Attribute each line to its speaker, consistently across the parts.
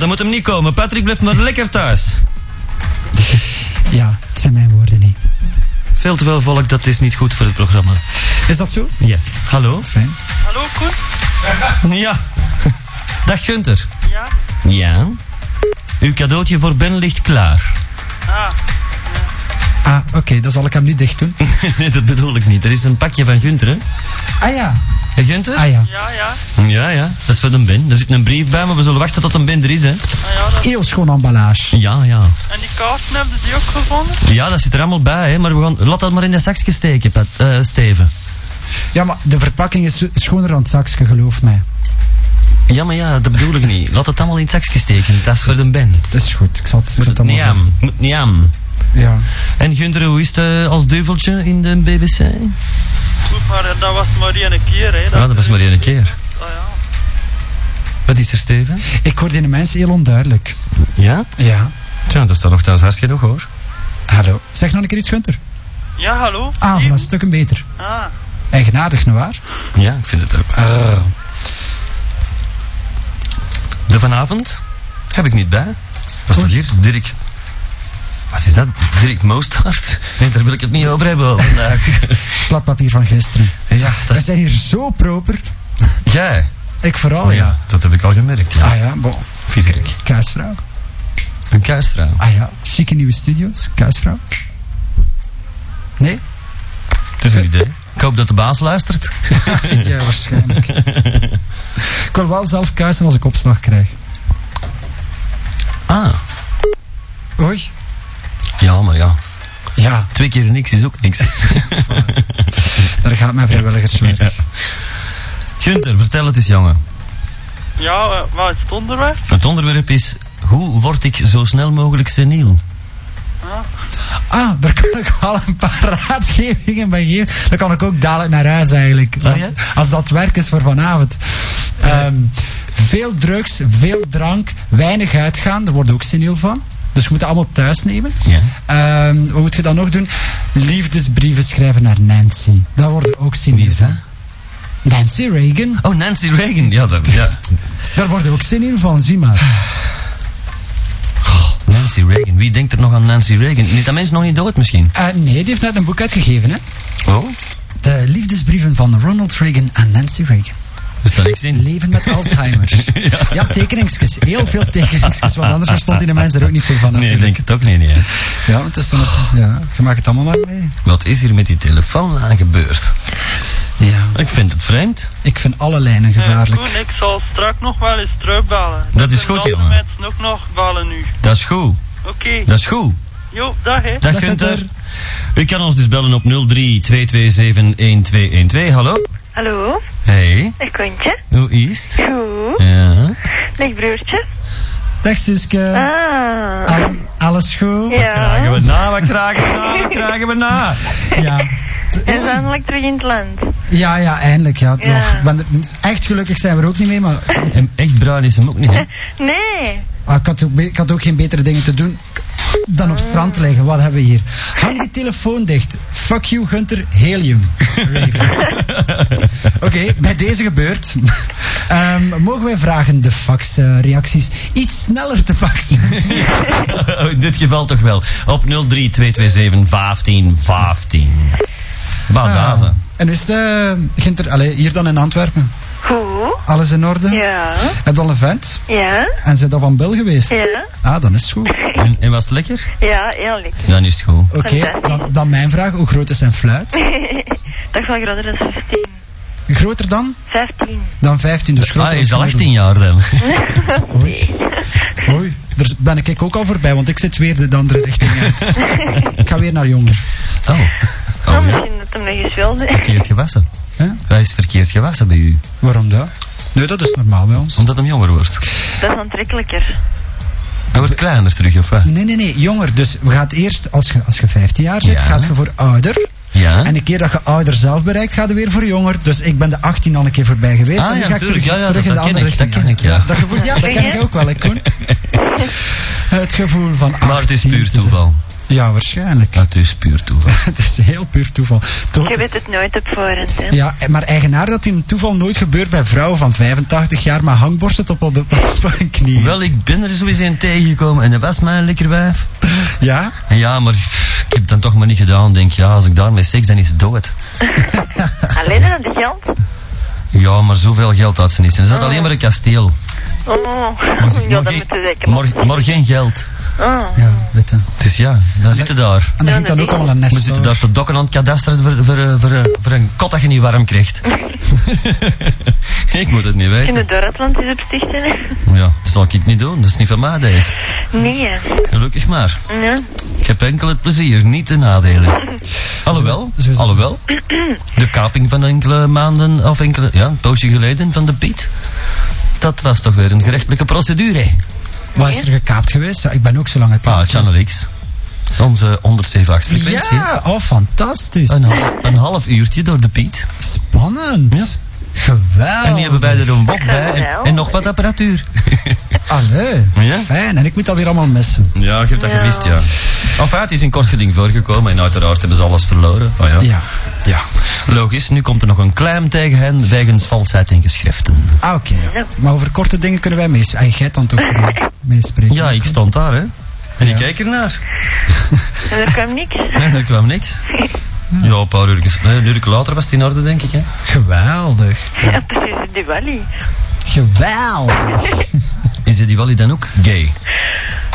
Speaker 1: Dan moet hem niet komen. Patrick blijft maar lekker thuis.
Speaker 2: Ja, het zijn mijn woorden niet.
Speaker 1: Veel te veel volk, dat is niet goed voor het programma.
Speaker 2: Is dat zo?
Speaker 1: Ja. Hallo?
Speaker 2: Fijn.
Speaker 3: Hallo, Koen?
Speaker 1: Ja. Dag Gunther.
Speaker 3: Ja?
Speaker 1: Ja. Uw cadeautje voor Ben ligt klaar.
Speaker 3: Ah,
Speaker 2: Ah, oké, dan zal ik hem nu dicht doen.
Speaker 1: nee, dat bedoel ik niet. Er is een pakje van Gunther, hè?
Speaker 2: Ah ja.
Speaker 1: Hè, Gunther?
Speaker 2: Ah ja.
Speaker 3: ja, ja.
Speaker 1: Ja, ja. Dat is voor de Ben. Er zit een brief bij, maar we zullen wachten tot een Ben er is, hè?
Speaker 3: Ah, ja dat...
Speaker 2: Heel schoon emballage.
Speaker 1: Ja, ja.
Speaker 3: En die kaarten hebben ze die ook gevonden?
Speaker 1: Ja, dat zit er allemaal bij, hè? Maar we gaan... laat dat maar in de zakje steken, Pat, eh, Steven.
Speaker 2: Ja, maar de verpakking is schoner dan het zakje, geloof mij.
Speaker 1: Ja, maar ja, dat bedoel ik niet. Laat het allemaal in het zakje steken. Dat is voor de Ben.
Speaker 2: Dat is goed, ik zal het, ik zal
Speaker 1: Moet
Speaker 2: het
Speaker 1: het niet
Speaker 2: allemaal
Speaker 1: aan. Moet niet aan.
Speaker 2: zeggen. Ja.
Speaker 1: En Gunther, hoe is het eh, als duveltje in de BBC?
Speaker 3: Goed, maar eh, dat was maar één keer, hè.
Speaker 1: Ja, dat was maar één keer.
Speaker 3: Ah, ja.
Speaker 1: Wat is er, Steven?
Speaker 2: Ik hoor die mensen heel onduidelijk.
Speaker 1: Ja?
Speaker 2: Ja.
Speaker 1: Tja, dat staat nog thuis hard genoeg, hoor.
Speaker 2: Hallo. Zeg nog een keer iets, Gunther.
Speaker 3: Ja, hallo?
Speaker 2: Ah, voilà,
Speaker 3: Steven?
Speaker 2: een stukken beter.
Speaker 3: Ah,
Speaker 2: Eigenaardig, nietwaar?
Speaker 1: Ja, ik vind het ook.
Speaker 2: waar?
Speaker 1: De vanavond heb ik niet bij. Was dat
Speaker 2: Oei.
Speaker 1: hier? Dirk. Wat is dat? Dirk Moostart? Nee, daar wil ik het niet over hebben vandaag.
Speaker 2: Kladpapier van gisteren.
Speaker 1: ja, dat
Speaker 2: We
Speaker 1: is...
Speaker 2: zijn hier zo proper.
Speaker 1: Jij?
Speaker 2: Ik vooral,
Speaker 1: Oh
Speaker 2: ja.
Speaker 1: ja, dat heb ik al gemerkt. Ja.
Speaker 2: Ah ja, bon.
Speaker 1: Viesgek.
Speaker 2: Kaasvrouw.
Speaker 1: Een kuisvrouw.
Speaker 2: Ah ja, chique nieuwe studios. Kaasvrouw. Nee?
Speaker 1: Het is een idee. Ik hoop dat de baas luistert.
Speaker 2: ja, waarschijnlijk. ik wil wel zelf kuisen als ik opslag krijg.
Speaker 1: Ah,
Speaker 2: Oei.
Speaker 1: ja, maar ja.
Speaker 2: Ja,
Speaker 1: Twee keer niks is ook niks.
Speaker 2: daar gaat mijn vrijwilligerswerk.
Speaker 1: Ja. Gunther, vertel het eens, jongen.
Speaker 3: ja, eh, wat is het onderwerp?
Speaker 1: Het onderwerp is... Hoe word ik zo snel mogelijk seniel?
Speaker 3: Ah,
Speaker 2: Ah, daar kan ik wel een paar raadgevingen bij geven. Dan kan ik ook dadelijk naar huis eigenlijk.
Speaker 1: Oh ja?
Speaker 2: Als dat werk is voor vanavond. Ehm, veel drugs, veel drank, weinig uitgaan. Daar word ik ook seniel van. Dus we moeten allemaal thuis nemen.
Speaker 1: Ja.
Speaker 2: Ehm, wat moet je dan nog doen? Liefdesbrieven schrijven naar Nancy. Daar word ik ook seniel
Speaker 1: Wie is dat?
Speaker 2: van. Nancy Reagan.
Speaker 1: Oh, Nancy Reagan. Ja, dat... Ja.
Speaker 2: Daar word ik ook seniel van, zie maar.
Speaker 1: Oh, Nancy Reagan. Wie denkt er nog aan Nancy Reagan? Is dat mens nog niet dood misschien?
Speaker 2: Eh, nee, die heeft net een boek uitgegeven, hè?
Speaker 1: Oh?
Speaker 2: De liefdesbrieven van Ronald Reagan aan Nancy Reagan.
Speaker 1: Er staat niks in.
Speaker 2: Leven met Alzheimer.
Speaker 1: ja.
Speaker 2: Ja, tekeningsjes. Heel veel tekeningsjes. Want anders verstond die de mensen er ook niet veel van.
Speaker 1: Nee, ik
Speaker 2: natuurlijk.
Speaker 1: denk het ook niet. nee, hè.
Speaker 2: Ja, want het is dan ook- ja, je maakt het allemaal maar mee.
Speaker 1: Wat is hier met die telefoon aan gebeurd?
Speaker 2: Ja.
Speaker 1: Ik vind het vreemd.
Speaker 2: Ik vind alle lijnen
Speaker 3: eh,
Speaker 2: gevaarlijk.
Speaker 3: Koen, ik zal straks nog wel eens terugbellen.
Speaker 1: Dat is
Speaker 3: En
Speaker 1: goed,
Speaker 3: de andere
Speaker 1: jongen.
Speaker 3: mensen ook nog bellen nu.
Speaker 1: Dat is goed.
Speaker 3: Oké,
Speaker 1: Dat is goed.
Speaker 3: jo, dag, hè.
Speaker 1: Dag,
Speaker 2: Dag,
Speaker 1: Gunther.
Speaker 2: Gunther.
Speaker 1: U kan ons dus bellen op 03-227-1212. Hallo?
Speaker 4: Hallo,
Speaker 1: Hey.
Speaker 4: ik Koentje.
Speaker 1: Hoe is het?
Speaker 4: Goed.
Speaker 1: Ja.
Speaker 4: Dag broertje.
Speaker 2: Dag Suske.
Speaker 4: Ah.
Speaker 2: Alles, alles goed?
Speaker 4: Ja.
Speaker 1: Krijgen we na, wat krijgen we na, wat krijgen we na?
Speaker 2: Ja.
Speaker 4: En eindelijk terug in het land.
Speaker 2: Ja, ja, eindelijk. Ja.
Speaker 4: Ja.
Speaker 2: Nog. Ik ben er- echt gelukkig zijn we er ook niet mee, maar
Speaker 1: En echt bruin is hem ook niet, hè?
Speaker 4: Nee.
Speaker 2: ah, ik, had ook, be- ik had ook geen betere dingen te doen dan op strand liggen. Wat hebben we hier? Hang die telefoon dicht. Fuck you, Gunter. Helium. Raven. Oké, bij deze gebeurt. Ehm, mogen wij vragen de faxreacties iets sneller te faxen?
Speaker 1: In dit geval toch wel. Op 03-227-1515. Badazen.
Speaker 2: Eh, En is de Ginter, allee, hier dan in Antwerpen?
Speaker 4: Goed.
Speaker 2: Alles in orde?
Speaker 4: Ja.
Speaker 2: Heb je al een vent?
Speaker 4: Ja.
Speaker 2: En zijn dat van Bel geweest?
Speaker 4: Ja.
Speaker 2: Ah, dan is het goed.
Speaker 1: En, en was het lekker?
Speaker 4: Ja, eerlijk.
Speaker 1: Dan is het goed.
Speaker 2: Oké, dan, dan mijn vraag. Hoe groot is zijn fluit?
Speaker 4: Dat is wel groter dan 15.
Speaker 2: Groter dan?
Speaker 4: 15.
Speaker 2: Dan 15, dus groter
Speaker 1: Ah, hij is al
Speaker 2: dan
Speaker 1: 18 jaar dan.
Speaker 2: Oei. Oei, daar ben ik ook al voorbij, want ik zit weer de andere richting uit. ik ga weer naar jonger.
Speaker 1: Oh.
Speaker 4: Nou,
Speaker 1: Oh ja,
Speaker 4: misschien dat hem nog eens wilde.
Speaker 1: verkeerd gewassen.
Speaker 2: Hè?
Speaker 1: Hij is verkeerd gewassen bij u.
Speaker 2: Waarom dat? Nee, dat is normaal bij ons.
Speaker 1: Omdat hij jonger wordt.
Speaker 4: Dat is aantrekkelijker.
Speaker 1: Hij wordt kleiner terug, of wat?
Speaker 2: Nee, nee, nee, jonger. Dus we gaan eerst, als je, als je 15 jaar zit,
Speaker 1: Ja.
Speaker 2: gaat je voor ouder.
Speaker 1: Ja.
Speaker 2: En de keer dat je ouder zelf bereikt, gaat je weer voor jonger. Dus ik ben de 18 al een keer voorbij geweest.
Speaker 1: Ah,
Speaker 2: en
Speaker 1: ja,
Speaker 2: dan ga ik
Speaker 1: tuurlijk.
Speaker 2: terug,
Speaker 1: Ja, ja,
Speaker 2: terug
Speaker 1: dat-
Speaker 2: in de
Speaker 1: dat ken
Speaker 2: andere
Speaker 1: ik, dat
Speaker 2: richting.
Speaker 1: ken ik, ja.
Speaker 2: Dat gevoel, ja, dat ken ik ook wel, hè, Koen. Het gevoel van 18
Speaker 1: Maar het is puur
Speaker 2: te zijn.
Speaker 1: toeval.
Speaker 2: Ja, waarschijnlijk.
Speaker 1: Dat is puur toeval.
Speaker 2: Het is heel puur toeval. Toch-
Speaker 4: Je weet het nooit op voorhand, hè.
Speaker 2: Ja, en- maar eigenaar dat in toeval nooit gebeurt bij vrouwen van 85 jaar met hangborsten tot op, de, tot op hun knieën.
Speaker 1: Wel, ik ben er sowieso een tegengekomen en dat was mij een lekker wijf.
Speaker 2: Ja?
Speaker 1: En ja, maar ik heb het dan toch maar niet gedaan. Denk, ja, als ik daarmee seks, dan is het dood.
Speaker 4: Alleen aan de geld.
Speaker 1: Ja, maar zoveel geld had ze niet. Ze had alleen maar een kasteel.
Speaker 4: Oh,
Speaker 1: Maar,
Speaker 4: Mm. ja, dat
Speaker 1: geen-
Speaker 4: moet je zeker.
Speaker 1: maar, maar geen geld.
Speaker 4: Oh.
Speaker 2: Ja, witte.
Speaker 1: Dus ja, dan zitten daar.
Speaker 2: En dan ging dan ook allemaal een nest.
Speaker 1: We zitten
Speaker 2: over.
Speaker 1: daar te dokken aan het kadaster voor, voor, eh, voor, eh, voor een kot dat je niet warm krijgt. ik moet het niet
Speaker 4: In
Speaker 1: weten.
Speaker 4: het Duitsland is opstichten. hè.
Speaker 1: Ja, dat zal ik niet doen. Dat is niet van mij deze.
Speaker 4: Nee, hè.
Speaker 1: Gelukkig maar.
Speaker 4: Ja.
Speaker 1: Ik heb enkel het plezier, niet de nadelen. Alhoewel,
Speaker 2: Zo- zo is het.
Speaker 1: alhoewel. De kaping van enkele maanden, of enkele, ja, een poosje geleden van de Piet. Dat was toch weer een gerechtelijke procedure.
Speaker 2: Wat is er gekaapt geweest? Ja, ik ben ook zo lang het
Speaker 1: Ah, Channel X. Onze 178 frequentie.
Speaker 2: Ja, oh fantastisch.
Speaker 1: Een, hal- een half uurtje door de Piet.
Speaker 2: Spannend.
Speaker 1: Ja.
Speaker 2: Geweldig.
Speaker 1: En die hebben wij er een wok bij en,
Speaker 4: Wel.
Speaker 1: en nog wat apparatuur.
Speaker 2: Allee,
Speaker 1: Ja?
Speaker 2: fijn. En ik moet dat weer allemaal missen.
Speaker 1: Ja, je hebt
Speaker 4: dat Ja. gewist, ja.
Speaker 1: Enfin, ah, het is in kort geding voorgekomen en uiteraard hebben ze alles verloren. Oh
Speaker 2: Ja.
Speaker 1: ja. Logisch, nu komt er nog een claim tegen hen wegens valsheid in geschriften.
Speaker 2: Ah, oké. Maar over korte dingen kunnen wij meespreken. Jij dan toch mee- meespreken?
Speaker 1: Ja, ik stond daar, hè. En
Speaker 2: Ja.
Speaker 1: ik kijk ernaar.
Speaker 4: En er kwam niks.
Speaker 1: En er kwam niks. Ja, een paar uur, een uur later was het in orde, denk ik, hè.
Speaker 2: Geweldig.
Speaker 4: Ja, precies, de Wally.
Speaker 2: Geweldig.
Speaker 1: Is die Wally dan ook gay?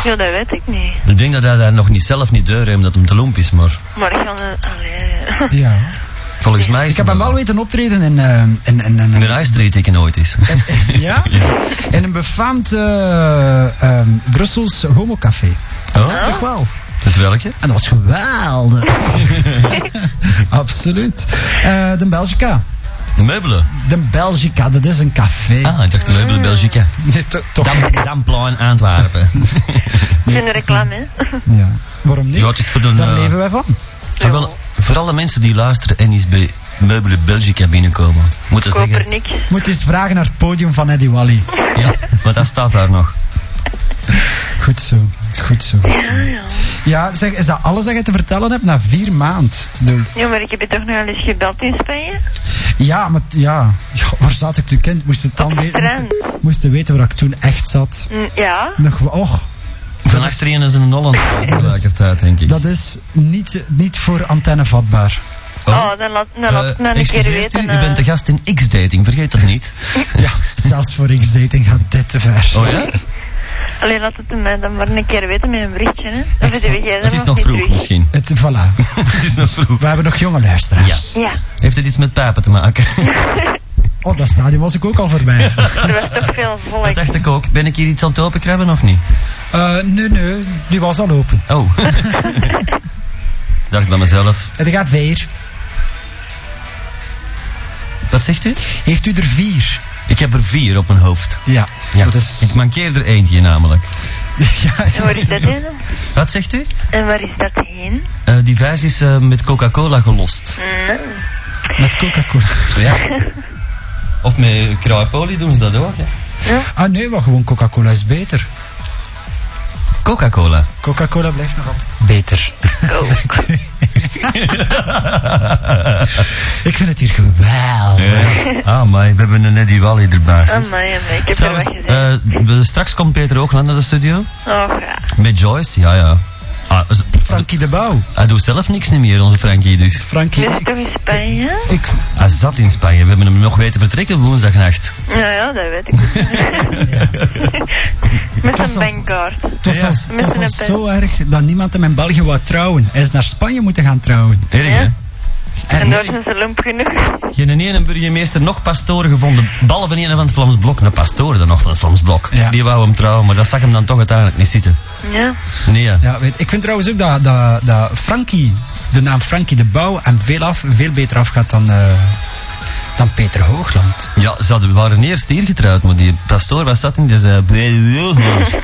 Speaker 4: Ja, dat weet ik niet.
Speaker 1: Ik denk dat hij daar nog niet zelf niet deur omdat hem te lomp is, maar
Speaker 4: Maar ik kan... eh, Allee.
Speaker 2: Ja.
Speaker 1: volgens mij is
Speaker 2: Ik heb hem wel weten optreden in... eh, in, in, in,
Speaker 1: In de rijstreet ik nooit is.
Speaker 2: ja? In een befaamd eh, ehm, Brussels homocafé.
Speaker 1: Oh,
Speaker 2: Toch wel?
Speaker 1: dat is welke?
Speaker 2: En dat was geweldig. Absoluut. Eh, de Belgica.
Speaker 1: Meubelen.
Speaker 2: De Belgica, dat is een café.
Speaker 1: Ah, ik dacht Meubelen Belgica.
Speaker 2: Nee, to- toch.
Speaker 1: Dam, Damplein Antwerpen.
Speaker 4: Het is een reclame, hè.
Speaker 2: Ja. Waarom niet?
Speaker 1: Ja, het is voor de,
Speaker 2: Daar
Speaker 1: eh,
Speaker 2: leven wij van.
Speaker 1: Ja, wel, voor alle mensen die luisteren en eens bij Meubelen Belgica binnenkomen, moeten
Speaker 4: Koop
Speaker 1: zeggen...
Speaker 4: er niks.
Speaker 2: Moet eens vragen naar het podium van Eddie Wally.
Speaker 1: Ja, maar dat staat daar nog.
Speaker 2: Goed zo, goed zo.
Speaker 4: Ja, ja.
Speaker 2: Ja, zeg, is dat alles dat je te vertellen hebt na vier maanden?
Speaker 4: Ja, maar ik heb je toch nogal eens gebeld in Spanje?
Speaker 2: Ja, maar t- ja. ja, waar zat ik toen kind? Moest het dan
Speaker 4: Op het
Speaker 2: weten, moest,
Speaker 4: strand.
Speaker 2: het- moest het weten waar ik toen echt zat.
Speaker 4: Mm, Ja.
Speaker 2: Nog, wa- och,
Speaker 1: Van achterin is een Holland tegelijkertijd, denk ik.
Speaker 2: dat is niet, niet voor antenne vatbaar.
Speaker 4: Oh, dan laat, dan laat
Speaker 1: Eh,
Speaker 4: dan een keer
Speaker 1: excuseert
Speaker 4: weten.
Speaker 1: u, u bent de
Speaker 4: eh.
Speaker 1: gast in X-dating, vergeet dat niet.
Speaker 2: Ja, zelfs voor X-dating gaat dit te ver.
Speaker 1: Oh ja?
Speaker 4: Allee, laat het mij dan maar een keer weten met een berichtje, hè.
Speaker 2: Ik
Speaker 4: Dan vind
Speaker 2: zal-
Speaker 4: je jij
Speaker 1: Het is nog vroeg misschien.
Speaker 2: Het, voilà,
Speaker 1: Het is nog vroeg.
Speaker 2: we hebben nog jonge luisteraars.
Speaker 4: Ja,
Speaker 1: Heeft het iets met pijpen te maken?
Speaker 2: Oh, dat stadium was ik ook al voorbij.
Speaker 4: er was toch veel
Speaker 1: Dat
Speaker 4: volk.
Speaker 1: dacht ik ook. Ben ik hier iets aan het openkrabben of niet?
Speaker 2: Eh, nee, nee, die was al open.
Speaker 1: Oh. dacht bij mezelf.
Speaker 2: Het gaat weer.
Speaker 1: Wat zegt u?
Speaker 2: Heeft u er vier?
Speaker 1: Ik heb er vier op mijn hoofd.
Speaker 2: Ja,
Speaker 1: Ja,
Speaker 2: dat is...
Speaker 1: ik mankeer er eentje namelijk.
Speaker 2: ja,
Speaker 4: En waar is dat heen?
Speaker 1: Wat zegt u?
Speaker 4: En waar is dat heen?
Speaker 1: Eh, die vijs is eh, met Coca-Cola gelost.
Speaker 4: Mm.
Speaker 2: met Coca-Cola.
Speaker 1: Ja. Of met kruipolie doen ze dat ook, hè?
Speaker 2: Ah nee, maar gewoon Coca-Cola is beter.
Speaker 1: Coca-Cola.
Speaker 2: Coca-Cola blijft nog altijd beter.
Speaker 4: Oh,
Speaker 2: ik vind het hier geweldig.
Speaker 1: Ah, maar we hebben een Eddie Wally erbij. zeg.
Speaker 4: Amai, amai, ik heb er
Speaker 1: Trouwens,
Speaker 4: wat gezegd.
Speaker 1: eh, we- straks komt Peter Oogland naar de studio.
Speaker 4: Oh, ja.
Speaker 1: Met Joyce, ja, ja. Ah, z-
Speaker 2: Frankie de Bouw.
Speaker 1: hij doet zelf niks niet meer, onze Frankie dus.
Speaker 2: Frankie,
Speaker 4: Dus
Speaker 2: ik,
Speaker 4: toch in Spanje?
Speaker 2: ik-
Speaker 1: Hij zat in Spanje, we hebben hem nog weten vertrekken woensdagnacht.
Speaker 4: Ja, ja, dat weet ik. Met
Speaker 2: was
Speaker 4: een
Speaker 2: als-
Speaker 4: bankkaart.
Speaker 2: het was
Speaker 1: Ja.
Speaker 2: zelfs, het was
Speaker 4: Mensen
Speaker 2: zelfs
Speaker 4: hebben-
Speaker 2: zo erg dat niemand hem in België wou trouwen. Hij is naar Spanje moeten gaan trouwen.
Speaker 1: Erg,
Speaker 4: Ja.
Speaker 1: hè?
Speaker 4: En daar
Speaker 2: En,
Speaker 4: zijn ze lomp genoeg.
Speaker 1: Geen ene burgemeester nog pastoren gevonden, behalve een van het Vlaams Blok. Een pastoor dan nog van het Vlaams Blok.
Speaker 2: Ja.
Speaker 1: Die wou hem trouwen, maar dat zag hem dan toch uiteindelijk niet zitten.
Speaker 4: Ja.
Speaker 1: Nee, ja.
Speaker 2: ja, weet, ik vind trouwens ook dat, dat, dat Frankie, de naam Frankie de Bouw, hem veel, af, veel beter afgaat dan, eh, dan Peter Hoogland.
Speaker 1: Ja, ze hadden- waren eerst hier getrouwd, maar die pastoor was dat in, die zei... "Bij- bij-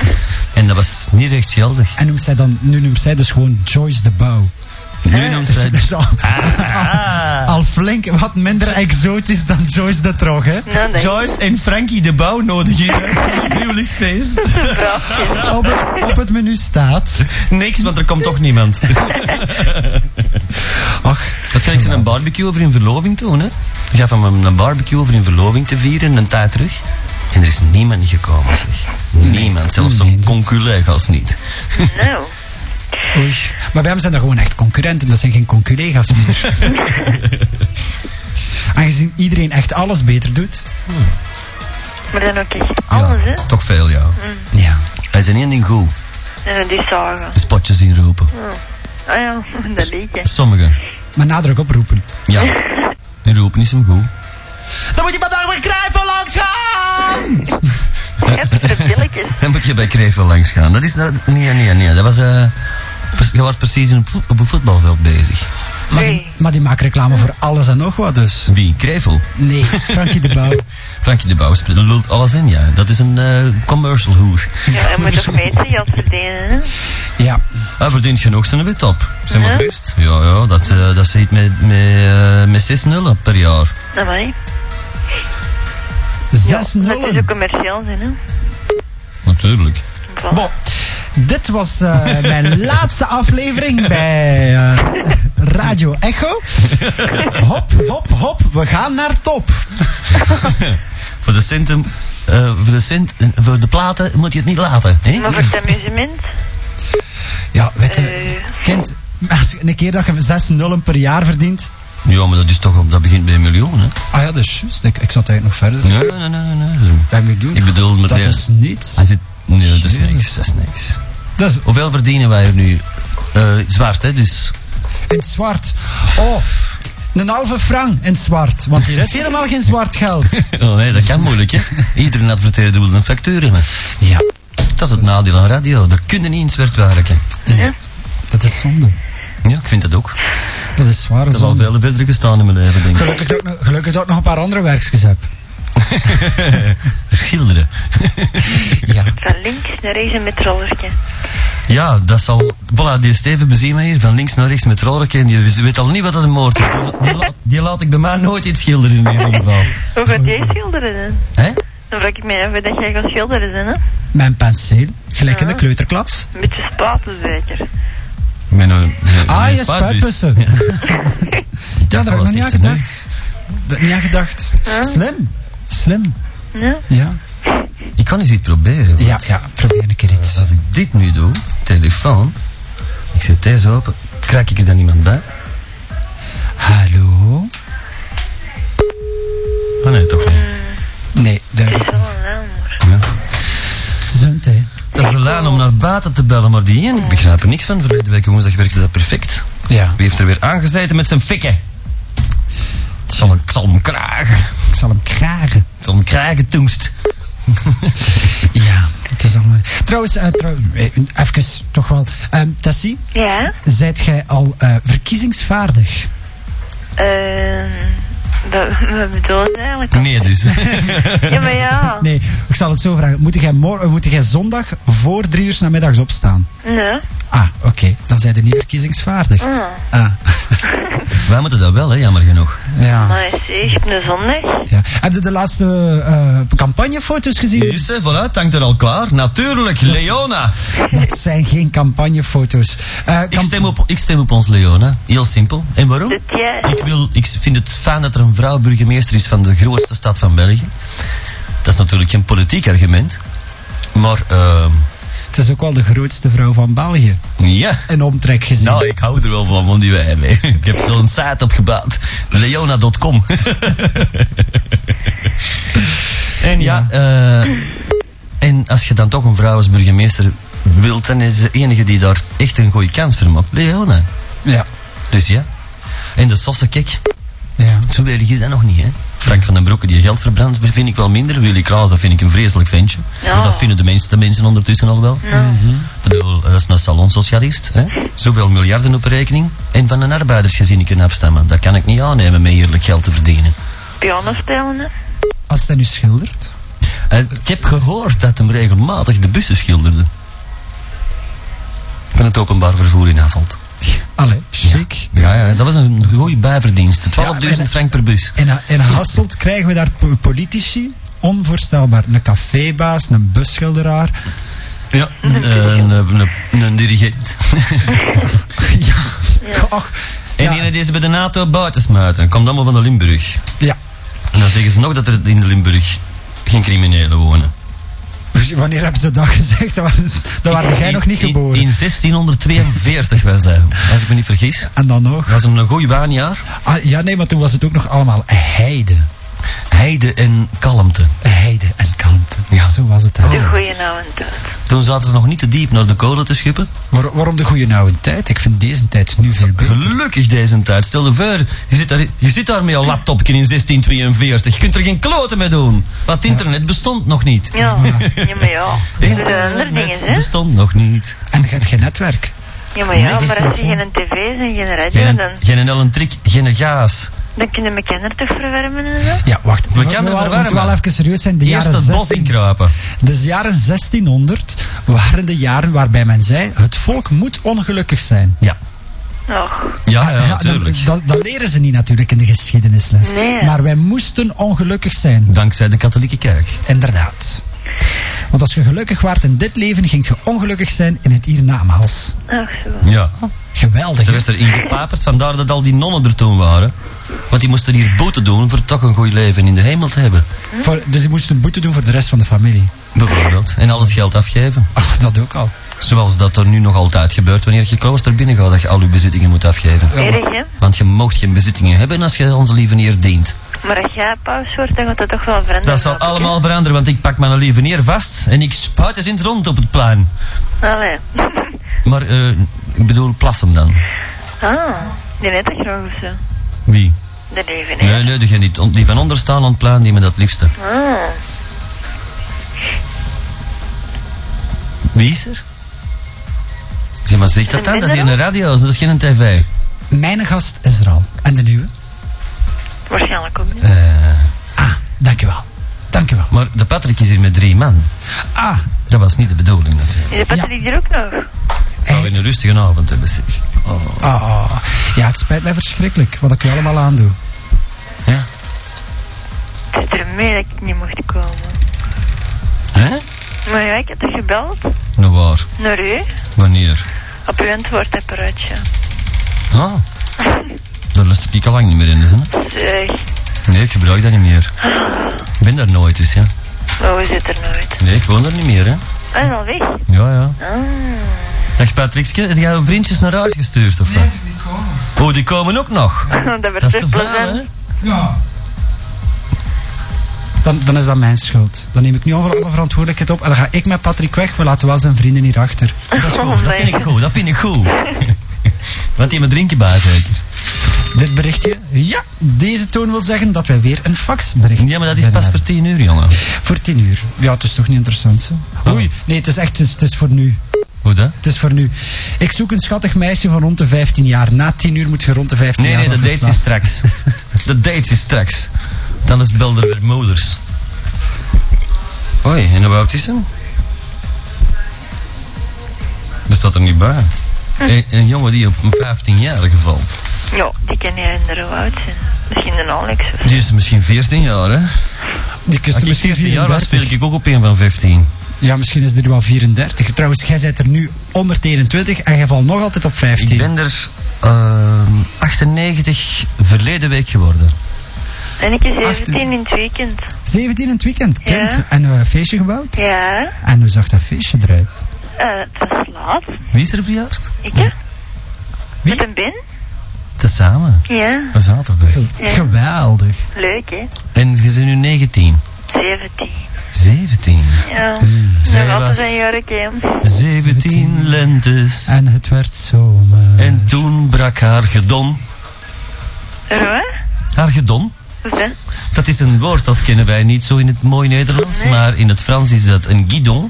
Speaker 1: En dat was niet echt geldig.
Speaker 2: En noemt
Speaker 5: Ah.
Speaker 2: zij dan, nu noemt zij dus gewoon Joyce de Bouw.
Speaker 1: Nu noemt zij...
Speaker 2: Dat is al-
Speaker 1: Ah,
Speaker 2: al flink wat minder exotisch dan Joyce de Trog, hè?
Speaker 4: Nou, nee.
Speaker 5: Joyce en Frankie de Bouw nodig hier uit voor een huwelijksfeest.
Speaker 2: Op het, op het menu staat.
Speaker 5: Niks, want er komt toch niemand.
Speaker 2: Ach,
Speaker 1: Waarschijnlijk zijn een barbecue over in verloving toen, hè? Ik gaf hem een barbecue over in verloving te vieren, een tijd terug. En er is niemand gekomen, zeg. Niemand, zelfs
Speaker 2: Nee,
Speaker 1: zo'n
Speaker 2: dat-
Speaker 1: conculega's niet.
Speaker 4: Nou,
Speaker 2: oei. Maar bij hem zijn dat gewoon echt concurrenten, dat zijn geen conculega's meer. Aangezien iedereen echt alles beter doet.
Speaker 4: maar dan ook echt alles, hè?
Speaker 1: Toch veel, ja.
Speaker 5: Mm.
Speaker 2: Ja.
Speaker 1: Hij is in één ding goed.
Speaker 4: En dan die zagen.
Speaker 1: Spotjes inroepen.
Speaker 4: Ah ja, dat liedje.
Speaker 1: Sommigen.
Speaker 2: Maar nadruk op roepen.
Speaker 1: Ja. Inroepen is hem goed.
Speaker 5: Dan moet je maar daar maar kruipen langs gaan!
Speaker 4: Heftige billetjes.
Speaker 1: Dan moet je bij Krevel langs gaan. Dat is... dat- nee, nee, nee. Dat was... eh, pres- je was precies in een vo- op een voetbalveld bezig.
Speaker 2: Maar,
Speaker 4: Nee.
Speaker 2: die, maar die maken reclame voor alles en nog wat dus.
Speaker 1: Wie? Krevel?
Speaker 2: Nee, Frankie de Bouw.
Speaker 1: Frankie de Bouw sp- lult alles in, ja. Dat is een eh, commercial hoer.
Speaker 4: Ja, en moet nog mensen jas verdienen, hè?
Speaker 2: Ja.
Speaker 1: Hij verdient genoeg zijn wit op. Zeg maar
Speaker 4: Ja?
Speaker 1: gerust. Ja, ja. Dat, eh dat zit met, met, eh, met zes nullen per jaar.
Speaker 4: Dat maar niet.
Speaker 2: Zes
Speaker 4: Dat is ook
Speaker 2: nullen.
Speaker 4: commercieel, zijn, hè?
Speaker 1: Natuurlijk.
Speaker 4: Voilà.
Speaker 2: Bon. Dit was eh, mijn laatste aflevering bij eh, Radio Echo. Hop, hop, hop, we gaan naar top.
Speaker 1: Voor de centen... eh, voor, de cent, eh, voor de platen moet je het niet laten. Hè?
Speaker 4: Maar voor het amusement,
Speaker 2: Ja, weet je,
Speaker 4: Eh.
Speaker 2: kind, als je een keer dat je zes nullen per jaar verdient.
Speaker 1: Ja, maar dat is toch... Dat begint bij een miljoen, hè?
Speaker 2: Ah ja, dat is juist. Ik, ik zat eigenlijk nog verder.
Speaker 1: Nee, nee, nee, nee. nee.
Speaker 2: Bij miljoen.
Speaker 1: Ik bedoel, met
Speaker 2: dat
Speaker 1: de-
Speaker 2: is niets.
Speaker 1: Hij zit... Nee, dat is
Speaker 2: Jezus.
Speaker 1: niks. Dat is niks.
Speaker 2: Dat is
Speaker 1: Hoeveel verdienen wij er nu? Eh, zwart, hè? Dus...
Speaker 2: in het zwart. Oh, een halve frank in het zwart. Want hier is helemaal geen zwart geld.
Speaker 1: Oh nee, dat kan moeilijk, hè? Iedereen adverteerde wil een factuur hebben.
Speaker 2: Ja,
Speaker 1: Dat is het nadeel aan radio. Daar kunnen niet in zwart werken.
Speaker 2: dat is zonde.
Speaker 1: Ja, ik vind dat ook.
Speaker 2: Dat is zware
Speaker 1: Dat is al
Speaker 2: zonde.
Speaker 1: veel verder gestaan in mijn leven, denk ik.
Speaker 2: Gelukkig dat, ik nog- gelukkig dat ik nog een paar andere werkjes heb.
Speaker 1: Schilderen.
Speaker 2: Ja.
Speaker 4: van links naar rechts en met rollertje.
Speaker 1: Ja, dat zal... Voilà, die Steven bezien mij hier van links naar rechts met rollerken. en Die weet al niet wat dat een moord is. Die, la- die laat, die laat ik bij mij nooit iets schilderen in ieder geval.
Speaker 4: Hoe gaat jij schilderen dan?
Speaker 1: Hè?
Speaker 4: Dan vraag ik mij af dat jij gaat schilderen, zijn, hè?
Speaker 2: Mijn penseel, gelijk in de
Speaker 4: Ja.
Speaker 2: kleuterklas.
Speaker 4: Een beetje spaten, zeker.
Speaker 1: Met een, met
Speaker 2: Ah,
Speaker 1: een
Speaker 2: je
Speaker 1: spuitbus.
Speaker 2: spuitbussen.
Speaker 1: Ja,
Speaker 2: Ja, daar heb ik nog niet aan gedacht. Dat, niet aan gedacht.
Speaker 4: Ja.
Speaker 2: Slim. Slim.
Speaker 4: Ja?
Speaker 2: Ja.
Speaker 1: Ik kan eens iets proberen.
Speaker 2: Ja, ja, probeer een keer iets.
Speaker 1: Als ik dit nu doe, telefoon, ik zet deze open, krijg ik er dan iemand bij?
Speaker 2: Hallo?
Speaker 1: Ah nee, toch niet.
Speaker 2: Nee, duidelijk.
Speaker 4: Zo, nou, maar.
Speaker 1: Ja.
Speaker 2: Zunt, hè.
Speaker 1: Dat is de lijn om naar buiten te bellen, maar die in, ik begrijp er niks van. Verleden week woensdag werkte dat perfect.
Speaker 2: Ja.
Speaker 1: Wie heeft er weer aangezeten met zijn fikken? Ik zal, hem- ik zal hem kragen.
Speaker 2: Ik zal hem kragen.
Speaker 1: Ik zal hem kragen, toengst.
Speaker 2: Ja, het is allemaal... Trouwens, eh, trouw- eh, even toch wel. Ehm Tassie,
Speaker 4: Ja?
Speaker 2: zijt jij al eh, verkiezingsvaardig?
Speaker 4: Ehm. Dat, wat bedoel je eigenlijk?
Speaker 1: Nee dus.
Speaker 4: Ja, maar ja.
Speaker 2: Nee, ik zal het zo vragen. Moet jij, mor- eh, moet jij zondag voor drie uur 's namiddags opstaan?
Speaker 4: Nee.
Speaker 2: Ah, oké. Dan zijn je niet verkiezingsvaardig.
Speaker 4: Ah.
Speaker 2: Ah,
Speaker 1: Wij moeten dat wel, hè, jammer genoeg.
Speaker 2: ja.
Speaker 4: Maar zeg, op een zondag.
Speaker 2: ja. Heb je de laatste eh, campagnefoto's gezien?
Speaker 1: Dus, hè, voilà, het hangt er al klaar. Natuurlijk, Leona.
Speaker 2: Dat zijn geen campagnefoto's. Eh,
Speaker 1: Ik
Speaker 2: camp-
Speaker 1: stem, op, ik stem op ons Leona. Heel simpel. En waarom?
Speaker 4: Dat jij.
Speaker 1: Ik, wil, ik vind het fijn dat er een vrouw burgemeester is van de grootste stad van België. Dat is natuurlijk geen politiek argument. Maar, ehm,
Speaker 2: Het is ook wel de grootste vrouw van België.
Speaker 1: ja.
Speaker 2: In omtrek gezien.
Speaker 1: Nou, ik hou er wel van, van die wij mee. Ik heb zo'n site opgebouwd. Leona.com En ja, eh, en als je dan toch een vrouw als burgemeester wilt, dan is de enige die daar echt een goede kans voor maakt. Leona.
Speaker 2: Ja.
Speaker 1: Dus ja. En de sossenkek.
Speaker 2: ja.
Speaker 1: Zo erg is dat nog niet, hè? Frank van den Broeke die geld verbrandt, vind ik wel minder. Willy Klaas, dat vind ik een vreselijk ventje.
Speaker 4: Ja.
Speaker 1: Maar Dat vinden de mensen, de mensen ondertussen al wel.
Speaker 4: Nou,
Speaker 1: Ik bedoel, eh, dat is een salonsocialist, hè? Zoveel miljarden op rekening. En van een arbeidersgezin kunnen afstammen. Dat kan ik niet aannemen met eerlijk geld te verdienen.
Speaker 4: piano spelen, hè?
Speaker 1: Oh.
Speaker 2: Als hij nu schildert.
Speaker 1: Eh, ik heb gehoord dat hem regelmatig de bussen schilderde. Van het openbaar vervoer in Hasselt.
Speaker 2: Allee, chic.
Speaker 1: Ja, ja, dat was een goede bijverdienst. 12.000
Speaker 2: en-
Speaker 1: frank per bus.
Speaker 2: In, in Hasselt krijgen we daar po- politici onvoorstelbaar. Een cafébaas, een busschilderaar.
Speaker 1: Ja, een, eh, een, een, een dirigent.
Speaker 2: ja.
Speaker 4: Ja.
Speaker 2: Och,
Speaker 1: En
Speaker 2: ja.
Speaker 1: die die ze bij de NATO buiten smuiten. Komt allemaal van de Limburg.
Speaker 2: ja.
Speaker 1: En dan zeggen ze nog dat er in de Limburg geen criminelen wonen.
Speaker 2: Wanneer hebben ze dat gezegd? Dat waren- Dan waren jij
Speaker 1: In-
Speaker 2: nog niet
Speaker 1: in-
Speaker 2: geboren.
Speaker 1: In, 1642 was dat, als ik me niet vergis.
Speaker 2: En dan nog?
Speaker 1: Dat was een goeie baanjaar.
Speaker 2: Ah, ja, nee, maar toen was het ook nog allemaal heide.
Speaker 1: Heide en kalmte.
Speaker 2: Heide en kalmte.
Speaker 1: Ja.
Speaker 2: Zo was het. daar.
Speaker 4: De goeie nou oude tijd.
Speaker 1: Toen zaten ze nog niet te diep naar de kolen te schippen.
Speaker 2: Waar- waarom de goede oude tijd? Ik vind deze tijd nu veel beter.
Speaker 1: Gelukkig deze tijd. Stel je voor, je zit, daar, je zit daar met je laptopje in 1642. Je kunt er geen kloten mee doen. Want internet bestond nog niet.
Speaker 4: Ja, ja, maar ja. Er zijn andere dingen, hè?
Speaker 1: bestond nog niet.
Speaker 2: En je hebt geen netwerk.
Speaker 4: Ja, maar ja, maar als je geen tv en geen radio,
Speaker 1: Geen,
Speaker 4: dan,
Speaker 1: geen elentrik, geen gaas.
Speaker 4: dan kunnen we kinderen toch verwarmen en zo.
Speaker 2: Ja, wacht.
Speaker 1: We kennen
Speaker 2: waren-
Speaker 1: wel
Speaker 2: moeten
Speaker 1: warm.
Speaker 2: wel even serieus zijn. De
Speaker 1: Eerst
Speaker 2: jaren
Speaker 1: het bos
Speaker 2: 16,
Speaker 1: inkruipen.
Speaker 2: de jaren 1600 waren de jaren waarbij men zei, het volk moet ongelukkig zijn.
Speaker 1: Ja.
Speaker 4: Och,
Speaker 1: Ja, ja,
Speaker 2: dat-
Speaker 1: natuurlijk.
Speaker 2: Ah, dat, dat leren ze niet natuurlijk in de geschiedenisles.
Speaker 4: Nee.
Speaker 2: Maar wij moesten ongelukkig zijn.
Speaker 1: Dankzij de katholieke kerk.
Speaker 2: Inderdaad. Want als je gelukkig waart in dit leven, ging je ongelukkig zijn in het hiernamaals.
Speaker 4: ach zo.
Speaker 1: Ja.
Speaker 2: Ah. Geweldig.
Speaker 1: Daar
Speaker 2: hè?
Speaker 1: werd er ingepaperd, vandaar dat al die nonnen er toen waren. Want die moesten hier boete doen voor toch een goed leven in de hemel te hebben.
Speaker 2: Voor, dus je moest een boete doen voor de rest van de familie.
Speaker 1: Bijvoorbeeld. En al het geld afgeven.
Speaker 2: Ach, dat ook al.
Speaker 1: Zoals dat er nu nog altijd gebeurt wanneer je klooster binnen gaat, dat je al je bezittingen moet afgeven.
Speaker 4: Erg, hè?
Speaker 1: Want je mocht geen bezittingen hebben als je onze lieve neer dient.
Speaker 4: Maar als jij paus wordt, dan gaat dat toch wel veranderen.
Speaker 1: Dat zal
Speaker 4: hoop ik, hè?
Speaker 1: allemaal veranderen, want ik pak mijn lieve neer vast en ik spuit eens in het rond op het plein.
Speaker 4: Allee.
Speaker 1: Maar, eh, ik bedoel plassen dan.
Speaker 4: ah, die net toch nog of zo.
Speaker 1: Wie?
Speaker 4: De leven, hè?
Speaker 1: Nee, nee, degene die, on- die van onder staan aan het plein, die me dat liefste.
Speaker 4: Ah,
Speaker 1: Wie is er? Zeg maar, zeg dat dan, dat is hier een radio, dat is geen tv.
Speaker 2: Mijn gast is er al. En de nieuwe?
Speaker 4: waarschijnlijk ook niet.
Speaker 1: Eh,
Speaker 2: Ah, dankjewel. Dankjewel.
Speaker 1: maar de Patrick is hier met drie man.
Speaker 2: Ah,
Speaker 1: Dat was niet de bedoeling natuurlijk.
Speaker 4: Is de Patrick er ook nog?
Speaker 1: Ik zou weer een rustige avond hebben, zeg. Eh. Oh.
Speaker 2: ah, ah. Ja, het spijt mij verschrikkelijk wat ik u allemaal aandoe.
Speaker 1: Ja?
Speaker 4: Het is er mee dat ik niet mocht komen.
Speaker 1: Hè?
Speaker 4: Maar ja, ik heb toch gebeld?
Speaker 1: Nou waar?
Speaker 4: Naar u?
Speaker 1: Wanneer?
Speaker 4: Op uw antwoordapparaatje.
Speaker 1: Ah. Daar lust ik al lang niet meer in, is hè?
Speaker 4: Zeg,
Speaker 1: Nee, ik gebruik dat niet meer. Ik ben daar nooit, dus, ja.
Speaker 4: oh, is het er nooit? Ah,
Speaker 1: Nee, ik woon daar niet meer, hè.
Speaker 4: Hij is al weg.
Speaker 1: Ja, ja.
Speaker 4: Ah,
Speaker 1: Dag Patrickske, heb jij je vriendjes naar huis gestuurd, of wat?
Speaker 5: die komen.
Speaker 1: Oh, die komen ook nog.
Speaker 4: dat
Speaker 1: Dat is
Speaker 4: werd dus
Speaker 1: te
Speaker 4: echt
Speaker 1: veel, hè?
Speaker 4: plezant.
Speaker 5: Ja.
Speaker 2: Dan, dan is dat mijn schuld. Dan neem ik nu over alle verantwoordelijkheid op. En dan ga ik met Patrick weg. We laten wel zijn vrienden hier achter.
Speaker 1: Dat is goed,
Speaker 4: Oh,
Speaker 1: dat
Speaker 4: nee.
Speaker 1: vind ik goed, dat vind ik goed. Want die me drinken bij, zeker.
Speaker 2: Dit berichtje. Ja, deze toon wil zeggen dat wij weer een faxbericht
Speaker 1: Ja, maar dat is
Speaker 2: binnen
Speaker 1: pas
Speaker 2: hebben.
Speaker 1: voor tien uur, jongen.
Speaker 2: Voor tien uur. Ja, het is toch niet interessant, zo?
Speaker 1: Oh.
Speaker 2: Oei, nee, het is echt, het is, het is voor nu.
Speaker 1: Hoe dat?
Speaker 2: Het is voor nu. Ik zoek een schattig meisje van rond de 15 jaar. Na 10 uur moet je rond de 15
Speaker 1: Nee,
Speaker 2: jaar
Speaker 1: nee, de
Speaker 2: nog
Speaker 1: date is
Speaker 2: geslaagd.
Speaker 1: straks. De date is straks. Dan is belden weer moeders. Oei, en de baptism? Dat staat er niet bij. Een, een jongen die op een 15-jarige valt.
Speaker 4: Ja, die kan jij in de oud zijn. Misschien een Alex of zo.
Speaker 1: Die is misschien 14 jaar, hè?
Speaker 2: Die
Speaker 1: Als
Speaker 2: kuste
Speaker 1: ik
Speaker 2: misschien
Speaker 1: 14 jaar was,
Speaker 2: 34.
Speaker 1: speel ik ook op een van 15.
Speaker 2: Ja, misschien is er wel 34. Trouwens, jij bent er nu 121 en jij valt nog altijd op 15.
Speaker 1: Ik ben er ehm, 98 verleden week geworden.
Speaker 4: En ik is 17
Speaker 2: 18.
Speaker 4: in het weekend.
Speaker 2: 17 in het weekend, kind.
Speaker 4: Ja.
Speaker 2: En eh, een feestje gebouwd.
Speaker 4: Ja,
Speaker 2: En hoe zag dat feestje eruit?
Speaker 4: eh, het was laat.
Speaker 1: Wie is er verjaard?
Speaker 4: Ik hè?
Speaker 2: Wie?
Speaker 4: Met een bin?
Speaker 1: Tezamen.
Speaker 4: Ja,
Speaker 1: Een zaterdag.
Speaker 2: Ge-
Speaker 4: Ja.
Speaker 2: Geweldig.
Speaker 4: leuk hè?
Speaker 1: En je bent nu 19.
Speaker 4: 17.
Speaker 1: 17.
Speaker 4: Ja,
Speaker 1: zij
Speaker 4: nog altijd
Speaker 1: was-
Speaker 4: een jurkje.
Speaker 1: 17 lentes.
Speaker 2: En het werd eh, zomer.
Speaker 1: En toen brak haar gedon.
Speaker 4: Roe?
Speaker 1: Haar gedon?
Speaker 4: Hoe is dat?
Speaker 1: Dat is een woord dat kennen wij niet zo in het mooi Nederlands,
Speaker 4: Nee.
Speaker 1: maar in het Frans is dat een guidon.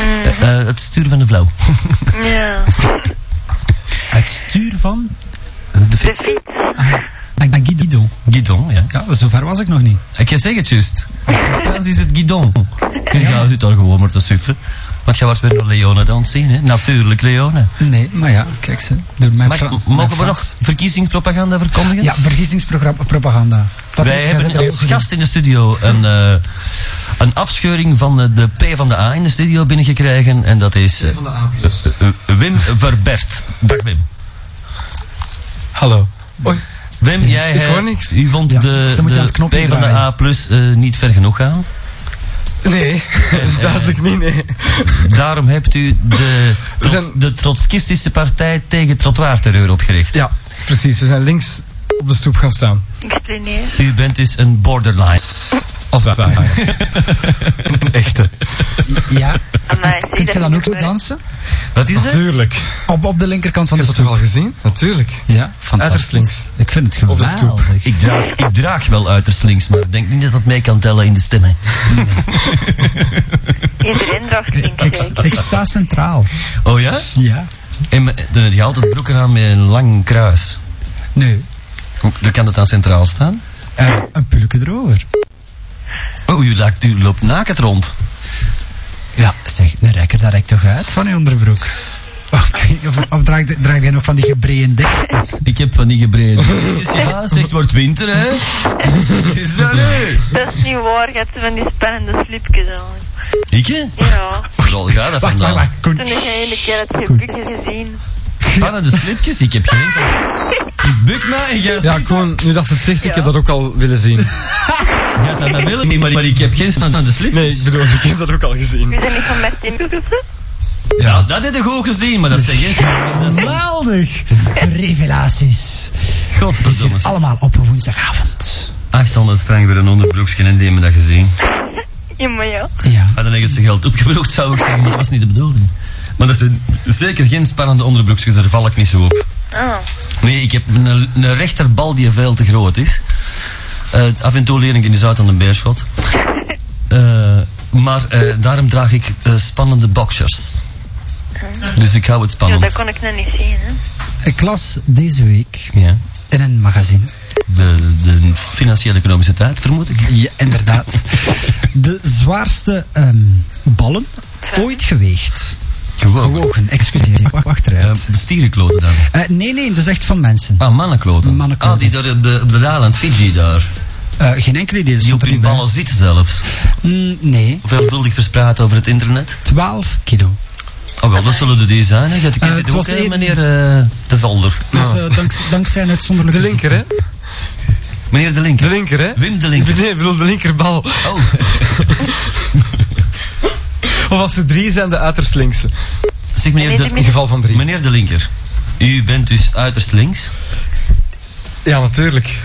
Speaker 4: Mm,
Speaker 1: Eh, eh, het stuur van de vrouw.
Speaker 4: Ja,
Speaker 2: Het stuur van...
Speaker 1: de
Speaker 4: de
Speaker 1: fiets.
Speaker 4: fiets.
Speaker 2: En, en Guido.
Speaker 1: Guidon, ja.
Speaker 2: Ja, zover was ik nog niet.
Speaker 1: Ik zeg het juist. In het Frans is het guidon. En ja, zit daar gewoon maar te suffen. Want jij wordt weer door Leone dan zien, hè? Natuurlijk, Leone.
Speaker 2: Nee, maar ja, kijk ze. Door mijn
Speaker 1: Mag-
Speaker 2: Fra- mijn
Speaker 1: mogen we nog
Speaker 2: Frans.
Speaker 1: verkiezingspropaganda verkondigen?
Speaker 2: Ja, verkiezingspropaganda.
Speaker 1: Wij hebben als gast in de studio een, eh, een afscheuring van de, de P van de A in de studio binnengekregen. En dat is eh, eh, Wim Verbert. Dag Wim.
Speaker 5: Hallo.
Speaker 1: Wim, jij
Speaker 5: Ik
Speaker 1: hebt-
Speaker 5: hoor niks.
Speaker 1: U vond
Speaker 2: Ja,
Speaker 1: de,
Speaker 2: dan moet je aan het
Speaker 1: de
Speaker 2: knopje
Speaker 1: P van de
Speaker 2: draaien.
Speaker 1: A plus eh, niet ver genoeg gaan.
Speaker 5: Nee, duidelijk niet, nee.
Speaker 1: Daarom hebt u de,
Speaker 5: We
Speaker 1: trots-
Speaker 5: zijn-
Speaker 1: de trotskistische partij tegen trottoirterreur opgericht.
Speaker 5: Ja, precies. We zijn links op de stoep gaan staan.
Speaker 4: Ik splineer.
Speaker 1: U bent dus een borderline.
Speaker 5: Als dat waar. Een echte.
Speaker 2: Ja,
Speaker 4: Amai, zie,
Speaker 2: kunt je
Speaker 4: dat
Speaker 2: dan
Speaker 4: is
Speaker 2: ook zo
Speaker 4: waar.
Speaker 2: dansen?
Speaker 1: Wat is het?
Speaker 5: Natuurlijk.
Speaker 2: Op, op de linkerkant van
Speaker 5: Heb
Speaker 2: de
Speaker 5: je dat toch
Speaker 2: stoel.
Speaker 5: al gezien? Natuurlijk.
Speaker 2: Ja, fantastisch.
Speaker 5: links.
Speaker 2: Ik vind het
Speaker 5: Op de stoep.
Speaker 2: geweldig.
Speaker 1: Ik draag, ik draag wel uiterst links, maar ik denk niet dat dat mee kan tellen in de stemmen.
Speaker 4: Iedereen draagt links,
Speaker 2: Ik,
Speaker 4: zeker.
Speaker 2: ik sta centraal.
Speaker 1: Oh ja?
Speaker 2: Ja.
Speaker 1: En me- de- die altijd broeken aan met een lang kruis.
Speaker 2: Nu,
Speaker 1: Hoe hoe kan dat dan centraal staan?
Speaker 2: eh, een pulke erover.
Speaker 1: Oh, u, laakt, u loopt nakend rond.
Speaker 2: Ja, zeg, een rekker, daar rek toch uit van je onderbroek? Of, ik weet niet of, of draag, je- draag jij nog van die gebreien dekjes?
Speaker 1: Ik heb van die gebreden. Dus ja, zegt, wordt winter, hè? Is dat nu?
Speaker 4: Dat is niet waar, je hebt van die spannende slipjes aan.
Speaker 1: Ik, hè?
Speaker 4: Ja.
Speaker 1: Zal ga dat
Speaker 2: Wacht, wacht,
Speaker 1: vandaan?
Speaker 2: wacht, Koen.
Speaker 4: Toen heb jij een keer het gebukje gezien.
Speaker 1: Van de slipjes? Ik heb geen... Ik buk mij en jij
Speaker 5: Ja, gewoon, nu dat ze het zegt, ik heb dat ook al willen zien.
Speaker 1: Ja, dat, dat wil ik niet, maar, maar ik heb geen stand aan de slip.
Speaker 5: Nee, ik bedoel, ik heb dat ook al gezien.
Speaker 4: We zijn niet van met Tim.
Speaker 1: Ja, dat heb ik ook gezien, maar dat zijn geen slipjes. Dat is
Speaker 2: Geweldig! De revelaties. Het is
Speaker 1: godverdomme.
Speaker 2: hier allemaal op een woensdagavond.
Speaker 1: 800 frank weer een onderbroekje en die hebben dat gezien.
Speaker 4: Ja, maar ja.
Speaker 2: Ja.
Speaker 1: Hadden ergens zijn geld opgevroegd, zou ik zeggen, maar dat was niet de bedoeling. Maar er zijn zeker geen spannende onderbroekjes, daar val ik niet zo op.
Speaker 4: Ah.
Speaker 1: Nee, ik heb een, een rechterbal die veel te groot is. Eh, af en toe leer ik die eens uit aan de beerschot. Eh, maar eh, daarom draag ik eh, spannende boxers. Dus ik hou het
Speaker 4: ja,
Speaker 1: spannend.
Speaker 4: dat kon ik nog niet zien, hè.
Speaker 2: Ik las deze week
Speaker 1: Ja.
Speaker 2: in een magazine.
Speaker 1: De, de financiële-economische tijd, vermoed ik.
Speaker 2: Ja, inderdaad. De zwaarste ehm, ballen ooit geweegd.
Speaker 1: Gewoon.
Speaker 2: Gewogen, excuseer. Wacht, wacht
Speaker 1: Eh,
Speaker 2: eruit.
Speaker 1: stierenkloten dan.
Speaker 2: Eh, nee, nee, dat is echt van mensen.
Speaker 1: Ah, mannenkloten.
Speaker 2: Mannenkloten.
Speaker 1: Ah, die daar op de, op de Daland, Fiji daar.
Speaker 2: Eh, geen enkele idee. dat
Speaker 1: Die
Speaker 2: stond
Speaker 1: op
Speaker 2: er
Speaker 1: hun
Speaker 2: niet bij.
Speaker 1: ballen zitten zelfs.
Speaker 2: Mm, nee,
Speaker 1: Veelvuldig verspreid over het internet.
Speaker 2: 12 kilo.
Speaker 1: Oh wel, dat zullen de die zijn. Hè. Dat
Speaker 2: Eh,
Speaker 1: kent
Speaker 2: het
Speaker 1: dit ook,
Speaker 2: was
Speaker 1: hè,
Speaker 2: een-
Speaker 1: meneer eh, De Velder.
Speaker 2: Dus eh, danks, dankzij een uitzonderlijke
Speaker 5: De linker, hè?
Speaker 2: ziekte.
Speaker 1: Meneer De Linker.
Speaker 5: De linker, hè?
Speaker 1: Wim De Linker.
Speaker 5: Nee, ik bedoel de linkerbal.
Speaker 1: Oh,
Speaker 5: Of als ze drie zijn, de uiterst linkse.
Speaker 1: zeg meneer
Speaker 4: Meneer de
Speaker 5: In
Speaker 1: de,
Speaker 4: Min-
Speaker 5: geval van drie.
Speaker 1: meneer de Linker. U bent dus uiterst links.
Speaker 5: Ja, natuurlijk.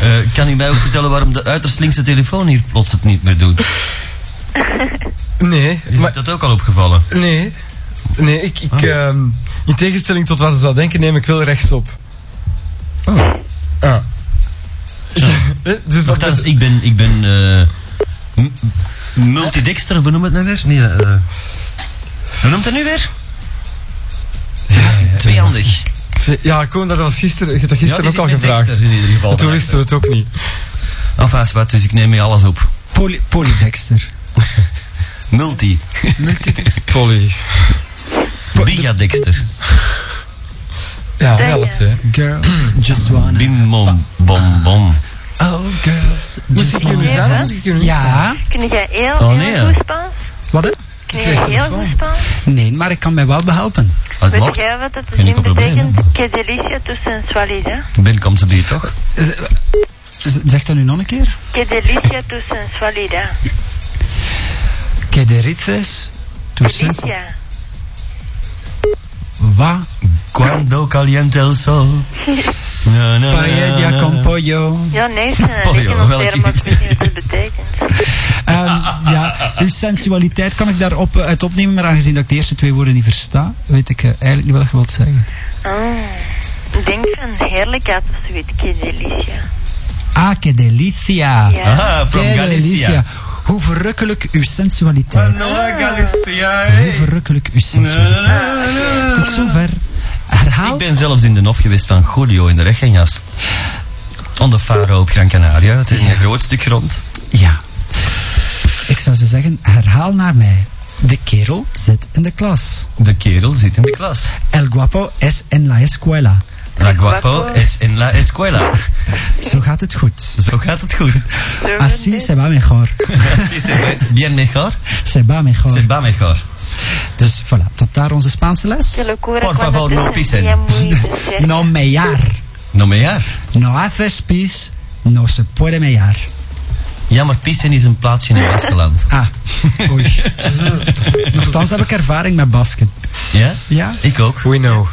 Speaker 1: Eh, kan u mij ook vertellen waarom de uiterst linkse telefoon hier plots het niet meer doet?
Speaker 5: Nee,
Speaker 1: Is
Speaker 5: maar...
Speaker 1: dat ook al opgevallen?
Speaker 5: Nee. Nee, ik... ik
Speaker 1: Ah.
Speaker 5: ehm, in tegenstelling tot wat ze zou denken, neem ik wel rechtsop.
Speaker 1: Oh.
Speaker 5: Ah. Eh, dus wat
Speaker 1: Nogthans, ik ben, ik ben eh, m- multidexter, hoe noemt het nou weer? Nee, eh hoe noemt het nu weer? Tweehandig.
Speaker 5: Ja, Koen, dat was gisteren, je hebt dat gisteren
Speaker 1: Ja,
Speaker 5: ook
Speaker 1: die
Speaker 5: al
Speaker 1: zit met
Speaker 5: gevraagd.
Speaker 1: Dexter in ieder geval.
Speaker 5: En toen wisten we het ook niet.
Speaker 1: Enfin, is wat, dus ik neem mee alles op.
Speaker 2: Poly, polydexter.
Speaker 1: Multi.
Speaker 5: Polly.
Speaker 1: Bigadexter.
Speaker 5: Ja,
Speaker 4: Denk
Speaker 5: wel
Speaker 4: je?
Speaker 5: het, hè.
Speaker 2: Girls, just wanna...
Speaker 1: Bim, bom, bom, bom.
Speaker 2: Oh, girls, just
Speaker 5: Muziek kunnen we
Speaker 2: wanna...
Speaker 4: Yes,
Speaker 5: zijn,
Speaker 4: hè?
Speaker 5: muziek kunnen we niet zijn.
Speaker 2: Ja,
Speaker 4: Kun jij heel,
Speaker 1: Oh,
Speaker 4: heel
Speaker 1: nee, ja.
Speaker 4: goed Spaans?
Speaker 2: wat hè?
Speaker 4: Kun
Speaker 5: krijg
Speaker 4: jij
Speaker 5: er
Speaker 4: heel
Speaker 5: van.
Speaker 4: goed Spaans?
Speaker 2: Nee, maar ik kan mij wel behelpen.
Speaker 1: Als
Speaker 4: Weet
Speaker 1: het
Speaker 4: jij wat dat
Speaker 1: Geen
Speaker 4: zin
Speaker 1: enkel probleem,
Speaker 4: betekent? Que delicia tu sensualidad.
Speaker 1: Ben komt ze die toch?
Speaker 2: Eh, eh, Zeg dat nu nog een keer.
Speaker 4: Que delicia tu sensualidad.
Speaker 2: Que de rites, tu sens...
Speaker 4: Delicia.
Speaker 2: Wa,
Speaker 1: Cuando caliente el sol. Na, na, na,
Speaker 2: paella
Speaker 1: na.
Speaker 2: con pollo.
Speaker 4: Ja, nee, het zijn
Speaker 1: Pollo,
Speaker 4: een liedje nog
Speaker 1: welk
Speaker 4: termen, maar ik weet niet wat
Speaker 1: idee.
Speaker 4: dat betekent.
Speaker 2: Ehm, ja, uw sensualiteit kan ik daarop eh, uit opnemen, maar aangezien dat ik de eerste twee woorden niet versta, weet ik eh, eigenlijk niet wat je wilt zeggen.
Speaker 4: Ah, ik denk van heerlijkheid of zoiets. Que delicia.
Speaker 2: Ah, que delicia.
Speaker 4: Ja.
Speaker 1: Aha, from
Speaker 2: Que
Speaker 1: Galicia.
Speaker 2: delicia. Hoe verrukkelijk uw sensualiteit.
Speaker 1: Galicia, eh.
Speaker 2: Hoe verrukkelijk uw sensualiteit. Tot zover. Herhaal.
Speaker 1: Ik ben zelfs in de nof geweest van Julio in de regenjas. On de Faro op Gran Canaria. Het is een groot stuk grond.
Speaker 2: Ja. Ik zou zo zeggen, herhaal naar mij. De kerel zit in de klas.
Speaker 1: De kerel zit in de klas.
Speaker 2: El guapo es en la escuela.
Speaker 1: La guapo es en la escuela.
Speaker 2: Zo gaat het goed.
Speaker 1: Zo gaat het goed.
Speaker 4: Ah,
Speaker 2: Así
Speaker 4: dus
Speaker 2: se va mejor.
Speaker 1: Así se ve bien mejor.
Speaker 2: Se va
Speaker 1: Se
Speaker 2: mejor.
Speaker 1: va mejor.
Speaker 2: Dus voilà, tot daar onze Spaanse les.
Speaker 4: Oh,
Speaker 1: Por favor, no pisen.
Speaker 4: dus, Nou,
Speaker 2: No mellar.
Speaker 1: No mejaar.
Speaker 2: No haces pis. No se puede mellar.
Speaker 1: Ja, maar Pissen is een plaatsje in Baskeland.
Speaker 2: Ah, oei. Nochtans heb ik ervaring met basken.
Speaker 1: Ja?
Speaker 2: Ja?
Speaker 1: Ik ook.
Speaker 6: We know.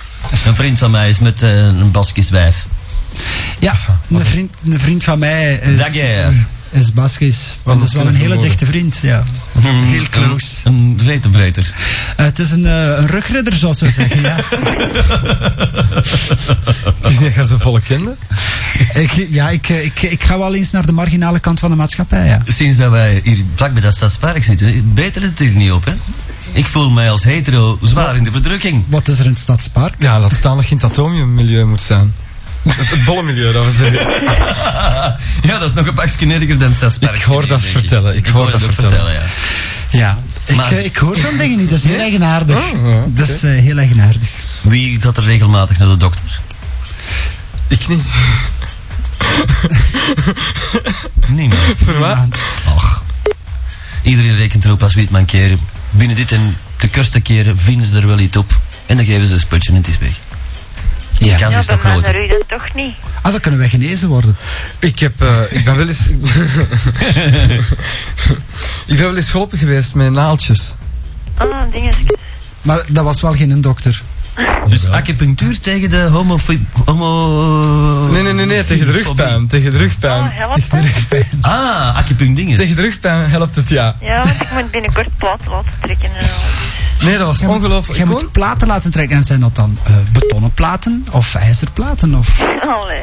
Speaker 1: Een vriend van mij is met eh, een Baskisch wijf.
Speaker 2: Ja, een vriend, een vriend van mij
Speaker 1: Dag,
Speaker 2: is,
Speaker 1: ja.
Speaker 2: is Baskisch. Dat is wel een hele dichte vriend, ja. Heel close.
Speaker 1: Een retenbreter.
Speaker 2: Eh, het is een, eh, een rugridder, zoals we zeggen, ja.
Speaker 6: Het is niet echt zijn volle kinderen.
Speaker 2: Ik, ja, ik, eh, ik, ik ga wel eens naar de marginale kant van de maatschappij, ja.
Speaker 1: Sinds dat wij hier vlakbij dat stadspark zitten, beter het hier niet op, hè? Ik voel mij als hetero zwaar in de verdrukking.
Speaker 2: Wat is er in het stadspark?
Speaker 6: Ja, laat staan dat je in het atomiummilieu moet zijn. Het, het bolle milieu, dat we zeggen.
Speaker 1: Ja, dat is nog een pakje erger dan stadspark.
Speaker 6: Ik hoor dat
Speaker 1: denk ik.
Speaker 6: vertellen, ik hoor dat
Speaker 1: ook
Speaker 6: vertellen.
Speaker 1: ja.
Speaker 2: Ja, ik,
Speaker 1: Maar-
Speaker 2: eh, ik hoor zo'n dingen niet, dat is heel eigenaardig.
Speaker 6: Oh, ja, oké.
Speaker 2: Dat is eh, heel eigenaardig.
Speaker 1: Wie gaat er regelmatig naar de dokter?
Speaker 6: Ik niet.
Speaker 1: Niemand.
Speaker 6: Voor mij?
Speaker 1: Och. Iedereen rekent erop als wie het mankeren. Binnen dit en de kortste keren vinden ze er wel iets op. En dan geven ze een sputje en het is weg.
Speaker 2: Ja.
Speaker 1: De kans
Speaker 4: Ja,
Speaker 1: is
Speaker 4: bij
Speaker 1: nog
Speaker 4: mij naar
Speaker 1: groter.
Speaker 4: u dat toch niet.
Speaker 2: Ah, dan kunnen wij genezen worden.
Speaker 6: Ik heb, eh, ik ben wel eens... ik ben wel eens geholpen geweest met naaltjes.
Speaker 4: Ah, dingetjes.
Speaker 2: Maar dat was wel geen dokter.
Speaker 1: Dus acupunctuur tegen de homofobie... Homo...
Speaker 6: Nee, nee, nee, nee, tegen de rugpijn. Tegen de
Speaker 4: Oh,
Speaker 6: rugpijn.
Speaker 4: help dat?
Speaker 1: Ah, acupunctuur.
Speaker 6: Tegen de rugpijn helpt het, ja.
Speaker 4: Ja, want ik moet binnenkort plaat laten trekken en al.
Speaker 6: Nee, dat was
Speaker 2: Jij moet-
Speaker 6: ongelooflijk.
Speaker 2: Jij
Speaker 6: Ik
Speaker 2: moet
Speaker 6: hoor-
Speaker 2: platen laten trekken. En zijn dat dan eh, betonnen platen of ijzerplaten of
Speaker 4: Allee.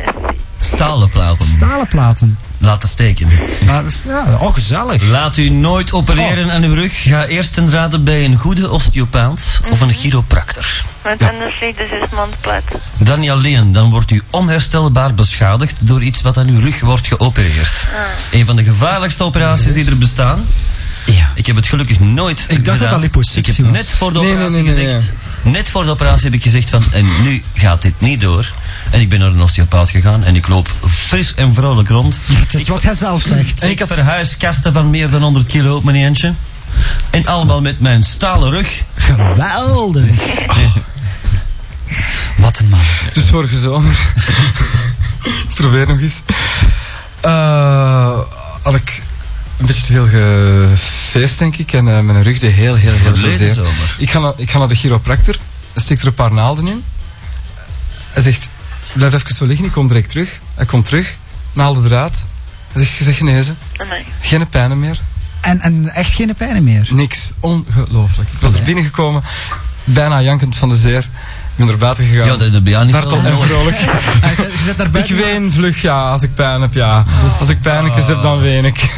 Speaker 1: Stalen platen.
Speaker 2: stalen platen?
Speaker 1: Laten steken.
Speaker 2: Maar dat is- ja, oh, gezellig.
Speaker 1: Laat u nooit opereren
Speaker 6: Oh.
Speaker 1: aan uw rug. Ga eerst een raden bij een goede osteopaat of
Speaker 6: Mhm.
Speaker 1: een chiropractor.
Speaker 4: Want anders ligt de zes maand plat.
Speaker 1: Dan niet alleen, dan wordt u onherstelbaar beschadigd door iets wat aan uw rug wordt geopereerd.
Speaker 4: Ah,
Speaker 1: Een van de gevaarlijkste operaties die er bestaan.
Speaker 2: Ja.
Speaker 1: Ik heb het gelukkig nooit
Speaker 2: dacht dat
Speaker 1: gedaan.
Speaker 2: dat liposuctie
Speaker 1: Ik heb
Speaker 2: was.
Speaker 1: net voor de
Speaker 6: Nee,
Speaker 1: operatie
Speaker 6: nee, nee, nee,
Speaker 1: gezegd... Net voor de operatie heb ik gezegd van... En nu gaat dit niet door. En ik ben naar een osteopaat gegaan en ik loop fris en vrolijk rond.
Speaker 2: Het is wat hij zelf zegt.
Speaker 1: En ik had verhuiskasten van meer dan 100 kilo op mijn eentje. En allemaal met mijn stalen rug. Oh.
Speaker 2: Geweldig. Wat een man.
Speaker 6: Dus vorige zomer. Ik Probeer nog eens. Eh, had ik een beetje te veel gefeest, denk ik. En eh, mijn rug deed heel, heel, heel veel
Speaker 1: Verleden
Speaker 6: zeer.
Speaker 1: zomer.
Speaker 6: Ik ga, naar, ik ga naar de chiropractor. Hij steekt er een paar naalden in. Hij zegt, blijf even zo liggen. Ik kom direct terug. Hij komt terug. Naalden eruit. Hij zegt, je zegt genezen.
Speaker 4: Amai.
Speaker 6: Geen pijnen meer.
Speaker 2: En, en echt geen pijn meer.
Speaker 6: Niks. Ongelooflijk. Ik was er binnengekomen. Bijna jankend van de zeer. Ik ben er buiten gegaan.
Speaker 1: Ja, dat heb je niet
Speaker 6: Dartel en
Speaker 1: wel.
Speaker 6: vrolijk.
Speaker 2: Je zit daarbij.
Speaker 6: Ik ween vlug, ja, als ik pijn heb, ja.
Speaker 1: Dus-
Speaker 6: Als ik pijnlijkjes heb, dan ween ik.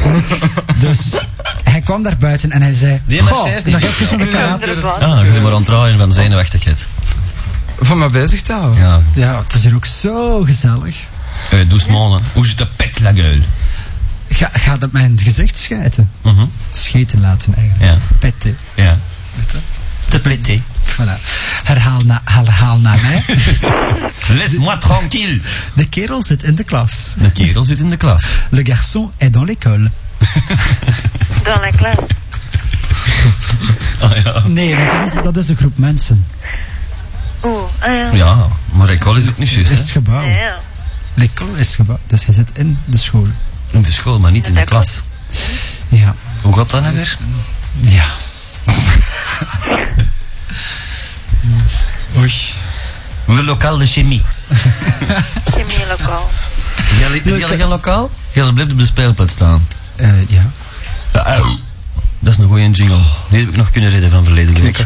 Speaker 2: Dus hij kwam daar buiten en hij zei...
Speaker 1: Die
Speaker 2: "Goh,
Speaker 1: marcheert niet."
Speaker 2: dag even naar de
Speaker 4: Andere
Speaker 2: karate.
Speaker 4: plaat.
Speaker 1: Ah, je bent maar aan het draaien van zenuwachtigheid.
Speaker 6: Van mij bezig te houden.
Speaker 1: Ja. Eh,
Speaker 2: Ja, het is hier ook zo gezellig.
Speaker 1: Hey, doe smolen. Hoe zit de pet, la gueule?
Speaker 2: Ga, gaat het mijn gezicht schijten?
Speaker 1: Mhm.
Speaker 2: Scheten laten eigenlijk.
Speaker 1: Ja.
Speaker 2: Petten.
Speaker 1: Ja. Te plette.
Speaker 2: Voilà. Herhaal na, herhaal na mij.
Speaker 1: Laisse-moi tranquille.
Speaker 2: De kerel zit in de klas.
Speaker 1: De kerel zit in de klas.
Speaker 2: Le garçon est dans l'école.
Speaker 4: Dan een klas.
Speaker 1: Ah ja.
Speaker 2: Nee, want dat is, dat is een groep mensen.
Speaker 4: Oeh, ah ja.
Speaker 1: Ja, maar école is ook niet
Speaker 2: Het is het
Speaker 1: juist. hè.
Speaker 2: gebouw.
Speaker 4: Ja, ja.
Speaker 2: L'école is het gebouw. Dus hij zit in de school.
Speaker 1: In de school, maar niet in de klas.
Speaker 2: Ja.
Speaker 1: Hoe gaat dat nou weer?
Speaker 2: Ja. Oei.
Speaker 1: Le lokaal de chemie.
Speaker 4: Chemie lokaal.
Speaker 1: Jij jij lokaal? Jij blijft op de speelplaats staan.
Speaker 2: Eh, ja.
Speaker 1: Au. Dat is een goeie jingle. Die heb ik nog kunnen redden van verleden week.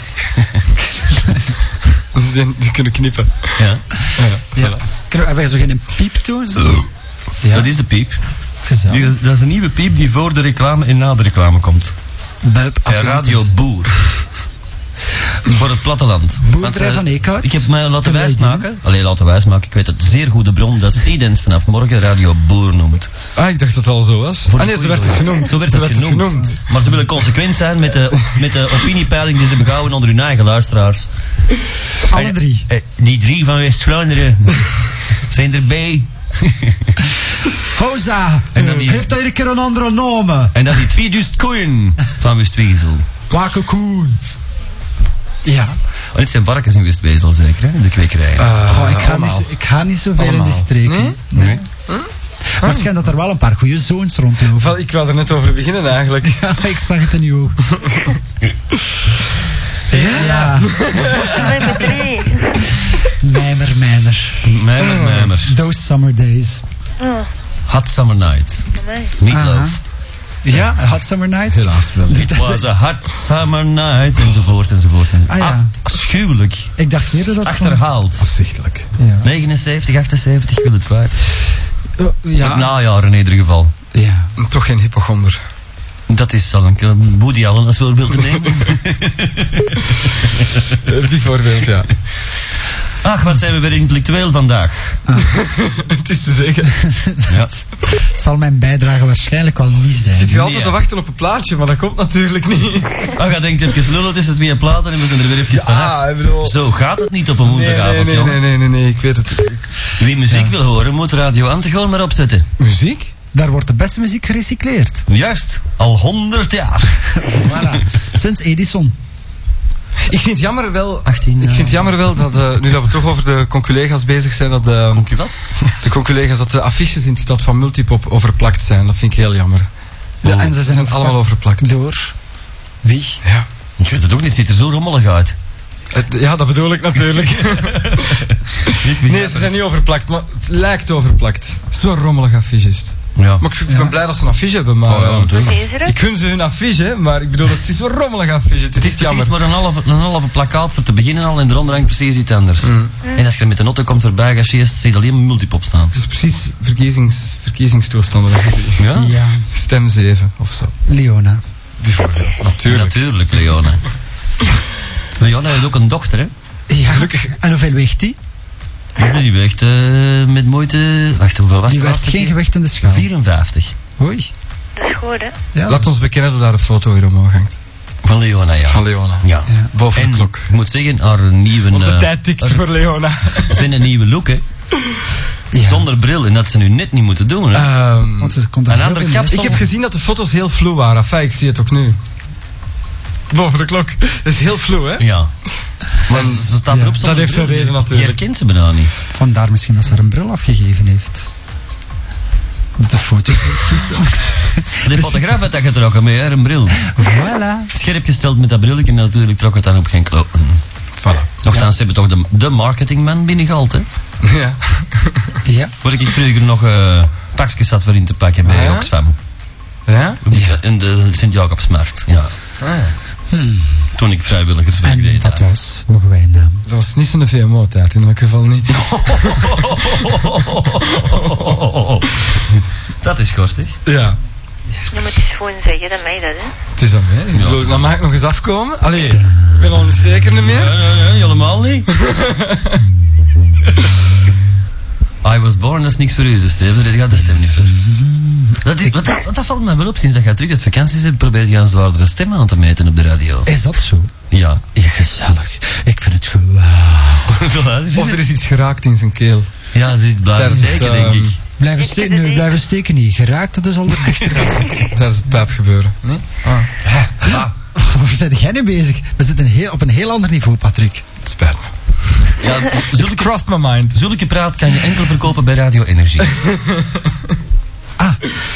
Speaker 6: Dus die, die kunnen knippen.
Speaker 1: Ja.
Speaker 2: ja. Kunnen- Hebben wij zo geen pieptoon? Zo. Ja,
Speaker 1: Dat is de piep.
Speaker 2: gezellig.
Speaker 1: Die- dat is een nieuwe piep die voor de reclame en na de reclame komt.
Speaker 2: Buip
Speaker 1: Eh,
Speaker 2: Atlantis.
Speaker 1: Radio Boer. voor het platteland. Want,
Speaker 2: Boerderij
Speaker 1: eh,
Speaker 2: van Eekhout.
Speaker 1: Ik heb mij laten
Speaker 2: Kunnen wij die
Speaker 1: wijsmaken. Alleen laten wijsmaken, ik weet het. Zeer goede bron dat Seedens vanaf morgen Radio Boer noemt.
Speaker 6: Ah, ik dacht dat het al zo was.
Speaker 1: Voor de
Speaker 6: ah nee, ze
Speaker 1: goeie
Speaker 6: werd het
Speaker 1: wil.
Speaker 6: genoemd.
Speaker 1: Zo werd
Speaker 6: Ze
Speaker 1: het genoemd. Maar ze willen consequent zijn met de, met de opiniepeiling die ze behouden onder hun eigen luisteraars.
Speaker 2: Alle drie.
Speaker 1: Eh, die drie van West-Vlaanderen zijn erbij.
Speaker 2: Fauza,
Speaker 1: En dan die-
Speaker 2: heeft hij een keer een andere naam?
Speaker 1: En dat die 2000 koeien van West-Wezel.
Speaker 2: Wakke Koen. Ja.
Speaker 1: Oh, het zijn varkens in West-Wezel zeker, hè? in de kwekerijen.
Speaker 6: Eh,
Speaker 2: Goh, ik, ga niet,
Speaker 6: allemaal.
Speaker 2: zo- ik ga niet zoveel in die
Speaker 6: Allemaal.
Speaker 2: streek.
Speaker 6: Nee?
Speaker 2: hè.
Speaker 1: Nee.
Speaker 2: Maar het schijnt dat er wel een paar goede zoons rondlopen.
Speaker 6: Wel, Ik wil er net over beginnen eigenlijk.
Speaker 2: Ja, ik zag het in uw oog. Ja. ja.
Speaker 4: We hebben drie.
Speaker 2: Mijmer, mijmer.
Speaker 1: Mijmer,
Speaker 2: Oh.
Speaker 1: mijmer.
Speaker 2: Those summer days.
Speaker 4: Oh,
Speaker 1: Hot summer night.
Speaker 4: amai.
Speaker 1: Meatloaf.
Speaker 2: Aha. Ja, Eh, Hot Summer Nights.
Speaker 6: Helaas wel.
Speaker 1: It was a hot summer night. Enzovoort, enzovoort.
Speaker 2: Ah, ja.
Speaker 1: Afschuwelijk.
Speaker 2: Ik dacht eerder dat... van-
Speaker 1: Achterhaald.
Speaker 6: Afzichtelijk.
Speaker 2: Ja.
Speaker 1: 79, 78, ik wil het kwijt.
Speaker 2: Eh,
Speaker 1: Het
Speaker 2: ja.
Speaker 1: najaar in ieder geval.
Speaker 2: ja.
Speaker 6: Toch geen hypochonder.
Speaker 1: Dat is zal een Woody Allen als voorbeeld te nemen.
Speaker 6: Eh, Bijvoorbeeld, ja.
Speaker 1: Ach, wat zijn we weer intellectueel vandaag.
Speaker 6: het is te zeggen.
Speaker 1: Ja.
Speaker 2: Het zal mijn bijdrage waarschijnlijk wel niet zijn.
Speaker 6: Zit je
Speaker 1: Nee,
Speaker 6: altijd
Speaker 1: ja.
Speaker 6: te wachten op een plaatje, maar dat komt natuurlijk niet.
Speaker 1: Ach, je Ah, denkt even lullen, het is het weer platen en we zijn er weer even vanaf.
Speaker 6: Ah, ik bedoel...
Speaker 1: Zo gaat het niet op een
Speaker 6: Nee,
Speaker 1: woensdagavond,
Speaker 6: nee, nee,
Speaker 1: joh.
Speaker 6: nee, nee, nee, nee, ik weet het.
Speaker 1: Wie muziek wil horen, moet Radio Antigoon maar opzetten.
Speaker 6: Muziek?
Speaker 2: Daar wordt de beste muziek gerecycleerd.
Speaker 1: Juist, al 100 jaar.
Speaker 2: Voilà. Sinds Edison.
Speaker 6: Ik vind het jammer wel...
Speaker 1: 18
Speaker 6: Ik vind het jammer wel dat, eh, nu dat we toch over de conculega's bezig zijn, dat de,
Speaker 1: Dank je wel.
Speaker 6: de conculega's, dat de affiches in de stad van Multipop overplakt zijn. Dat vind ik heel jammer. Oh,
Speaker 2: Ja, en ze
Speaker 6: Ze
Speaker 2: zijn
Speaker 6: zijn allemaal overplakt.
Speaker 2: door. Wie?
Speaker 6: Ja.
Speaker 1: Ik weet het ook niet, het ziet er zo rommelig uit.
Speaker 6: Het- Ja, dat bedoel ik natuurlijk. nee, ze zijn niet overplakt, maar het lijkt overplakt. Zo'n rommelig affiche is het.
Speaker 1: Ja.
Speaker 6: Maar ik, ik ben blij dat ze een affiche hebben, maar...
Speaker 1: Oh, ja,
Speaker 6: eh,
Speaker 1: natuurlijk.
Speaker 4: Deze er?
Speaker 6: ik gun ze hun affiche, hè, maar ik bedoel, het is zo'n rommelig affiche. Het is,
Speaker 1: Het is precies
Speaker 6: jammer.
Speaker 1: maar een halve, een halve plakkaat voor te beginnen al en eronder hangt precies iets anders.
Speaker 6: Mm.
Speaker 1: En als je er met een auto komt voorbij, ga je eerst- zie je alleen maar multipop staan.
Speaker 6: Het is precies verkiezings, verkiezingstoestanden. dat je ziet.
Speaker 1: Ja?
Speaker 2: Ja.
Speaker 6: Stem 7 of zo.
Speaker 2: Leona.
Speaker 6: Bijvoorbeeld. Natuurlijk.
Speaker 1: Natuurlijk, Leona. Leona heeft ook een dochter, hè?
Speaker 2: Ja.
Speaker 6: Gelukkig.
Speaker 2: En hoeveel weegt die?
Speaker 1: Maar Die weegt eh, met moeite... Wacht, hoeveel was
Speaker 2: die
Speaker 1: het?
Speaker 2: werd geen gewicht in de schaal.
Speaker 1: 54.
Speaker 2: Hoi.
Speaker 4: Dat is goed, hè?
Speaker 2: Ja.
Speaker 6: Laat ons bekennen dat daar een foto hier omhoog hangt.
Speaker 1: Van Leona, ja.
Speaker 6: Van Leona.
Speaker 1: ja.
Speaker 2: Ja.
Speaker 6: Boven
Speaker 1: En
Speaker 6: de klok.
Speaker 1: ik moet zeggen, haar nieuwe...
Speaker 6: Want de
Speaker 1: eh,
Speaker 6: tijd tikt voor Leona.
Speaker 1: zijn een nieuwe look, hè?
Speaker 2: Ja.
Speaker 1: Zonder bril. En dat ze nu net niet moeten doen, hè?
Speaker 6: Ehm,
Speaker 2: Want ze komt daar
Speaker 1: Een
Speaker 2: heel
Speaker 1: andere
Speaker 2: veel
Speaker 1: kapsel.
Speaker 2: mee.
Speaker 6: ik heb gezien dat de foto's heel vloe waren. Enfin, ik zie het ook nu. Boven de klok. Dat is heel vloe, hè?
Speaker 1: Ja. Maar
Speaker 6: En
Speaker 1: ze staat
Speaker 2: ja,
Speaker 1: erop zonder
Speaker 6: dat heeft zijn
Speaker 1: bril.
Speaker 6: reden
Speaker 1: Je
Speaker 6: natuurlijk.
Speaker 1: herkent ze bijna niet.
Speaker 2: Vandaar misschien dat ze haar een bril afgegeven heeft. De foto's.
Speaker 1: De fotograaf had dat getrokken met haar een bril.
Speaker 2: voilà.
Speaker 1: Scherp gesteld met dat brilletje en natuurlijk trok het dan op geen kloot.
Speaker 6: Voilà.
Speaker 1: Nochtans, ze hebben toch de, de marketingman binnengehaald, hè?
Speaker 6: Ja.
Speaker 2: Ja.
Speaker 1: Waar ik vroeger nog eh pakjes zat voor in te pakken bij
Speaker 6: Ja?
Speaker 1: Oxfam.
Speaker 6: Ah. Ja?
Speaker 1: In de Sint-Jacobsmarkt, ja.
Speaker 6: Ah.
Speaker 2: Hmm.
Speaker 1: Toen ik vrijwilligerswerk
Speaker 2: En
Speaker 1: deed.
Speaker 2: dat
Speaker 1: daar.
Speaker 2: was nog wij naam.
Speaker 6: Dat was niet zo'n VMO-tijd, in elk geval niet.
Speaker 1: Dat is kort, hè?
Speaker 6: Ja.
Speaker 4: Je moet het gewoon zeggen, dat mij dat, hè?
Speaker 6: Het is aan mij. Ik bedoel,
Speaker 1: Ja.
Speaker 6: dan mag ik nog eens afkomen. Allee, ik ben al niet zeker niet meer.
Speaker 1: Nee, nee, nee, helemaal niet. I was born, dat is niks voor u, zo, Steven. Dat gaat de stem niet voor.
Speaker 2: Hmm.
Speaker 1: Dat, is, wat, dat, dat valt mij wel op sinds dat je terug uit vakantie bent. Probeer je een zwaardere stem aan te meten op de radio.
Speaker 2: Is dat zo?
Speaker 1: Ja.
Speaker 2: Ja, gezellig. Ik vind het geweldig.
Speaker 6: Of er is iets geraakt in zijn keel.
Speaker 1: Ja, dit blijft
Speaker 6: Tijdens het,
Speaker 1: zeker, denk
Speaker 6: ehm,
Speaker 1: ik.
Speaker 2: Blijven
Speaker 4: Ik vind
Speaker 2: steken,
Speaker 4: het
Speaker 2: nee,
Speaker 4: niet.
Speaker 2: blijven steken niet. Geraakt, dus al de
Speaker 6: Tijdens het pijp gebeuren. Nee? Ah,
Speaker 2: Waar zijn jij nu bezig? We zitten heel, op een heel ander niveau, Patrick.
Speaker 6: het spijt me.
Speaker 1: Ja, zulke,
Speaker 6: Crossed my mind.
Speaker 1: zulke praat kan je enkel verkopen bij Radio Energie.
Speaker 2: Ah,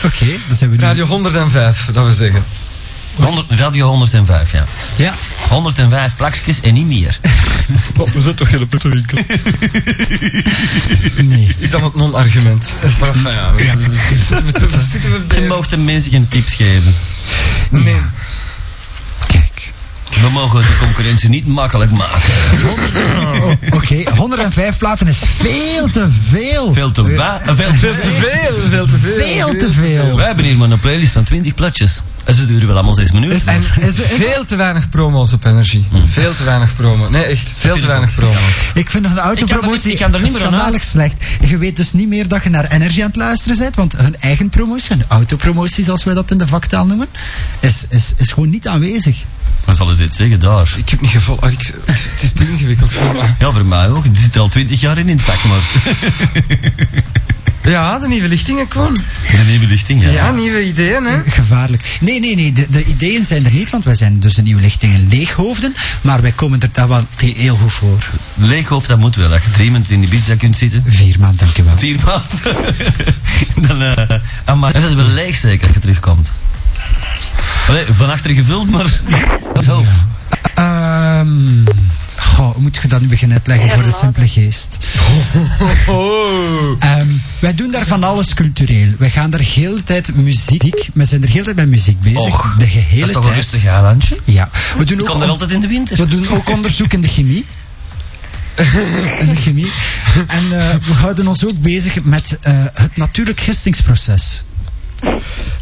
Speaker 2: oké. Dan zijn we nu...
Speaker 6: Radio 105, dat we zeggen.
Speaker 1: 100, radio 105, ja.
Speaker 2: Ja.
Speaker 1: 105 plakjes en niet meer.
Speaker 6: Oh, we zijn toch hele putte winkel.
Speaker 2: Nee.
Speaker 6: Is dat een non-argument? Maar enfin, ja. we- we- we- zitten we- we- zitten we
Speaker 1: Je
Speaker 6: bij-
Speaker 1: mag de mensen geen tips geven.
Speaker 6: Nee.
Speaker 2: Kijk.
Speaker 1: We mogen de concurrentie niet makkelijk maken.
Speaker 2: Oh, oké. 105 nummer en vijf platen is veel te veel.
Speaker 1: Veel te, wa- eh, veel, veel te veel. Veel te veel.
Speaker 2: Veel te veel.
Speaker 1: Wij hebben hier maar een playlist van 20 platjes. En ze duren wel allemaal 6 minuten.
Speaker 6: En
Speaker 2: is- is-
Speaker 6: veel te weinig promo's op energie. Veel te weinig promo. Nee, echt. Veel Hmm. te weinig promo's.
Speaker 2: Ik vind hun autopromotie
Speaker 1: Ik kan er niet- ik kan er niet meer aan
Speaker 2: schandalig slecht. Je weet dus niet meer dat je naar Energy aan het luisteren bent, want hun eigen promotie, hun autopromotie zoals wij dat in de vaktaal noemen, is, is, is gewoon niet aanwezig.
Speaker 1: Maar zal eens dit zeggen daar?
Speaker 6: Ik heb niet gevolgd. Ah, ik- Het is te ingewikkeld voor mij.
Speaker 1: Ja, voor mij ook. Die zit al 20 jaar in in het vak, maar.
Speaker 6: Ja, de nieuwe lichtingen kwam.
Speaker 1: De nieuwe lichting, ja.
Speaker 6: Ja, nieuwe ideeën, hè.
Speaker 2: Gevaarlijk. Nee, nee, nee, de, de ideeën zijn er niet, want wij zijn dus de nieuwe lichtingen leeghoofden, maar wij komen er daar wel heel goed voor.
Speaker 1: Leeghoofd, dat moet wel. Dat je drie minuten in de pizza kunt zitten.
Speaker 2: Vier maanden, dankjewel.
Speaker 1: Vier maanden. dan, eh ah, maar, dan zit het wel leeg zeker als je terugkomt. Allee, van achter gevuld, maar... Oh. Zo.
Speaker 2: Ehm, goh, hoe moet je dat nu beginnen uitleggen voor de simpele geest?
Speaker 6: Oh.
Speaker 2: Ehm, wij doen daar van alles cultureel. Wij gaan daar heel de tijd muziek. We zijn er heel de tijd met muziek bezig.
Speaker 1: Och,
Speaker 2: de gehele
Speaker 1: Dat is toch
Speaker 2: tijd.
Speaker 1: een rustig Oh. eilandje?
Speaker 2: Ja. We doen,
Speaker 1: Ik
Speaker 2: ook
Speaker 1: kom er
Speaker 2: on-
Speaker 1: altijd in de winter.
Speaker 2: we doen ook onderzoek in de chemie. in de chemie. En eh, we houden ons ook bezig met eh, het natuurlijk gistingsproces.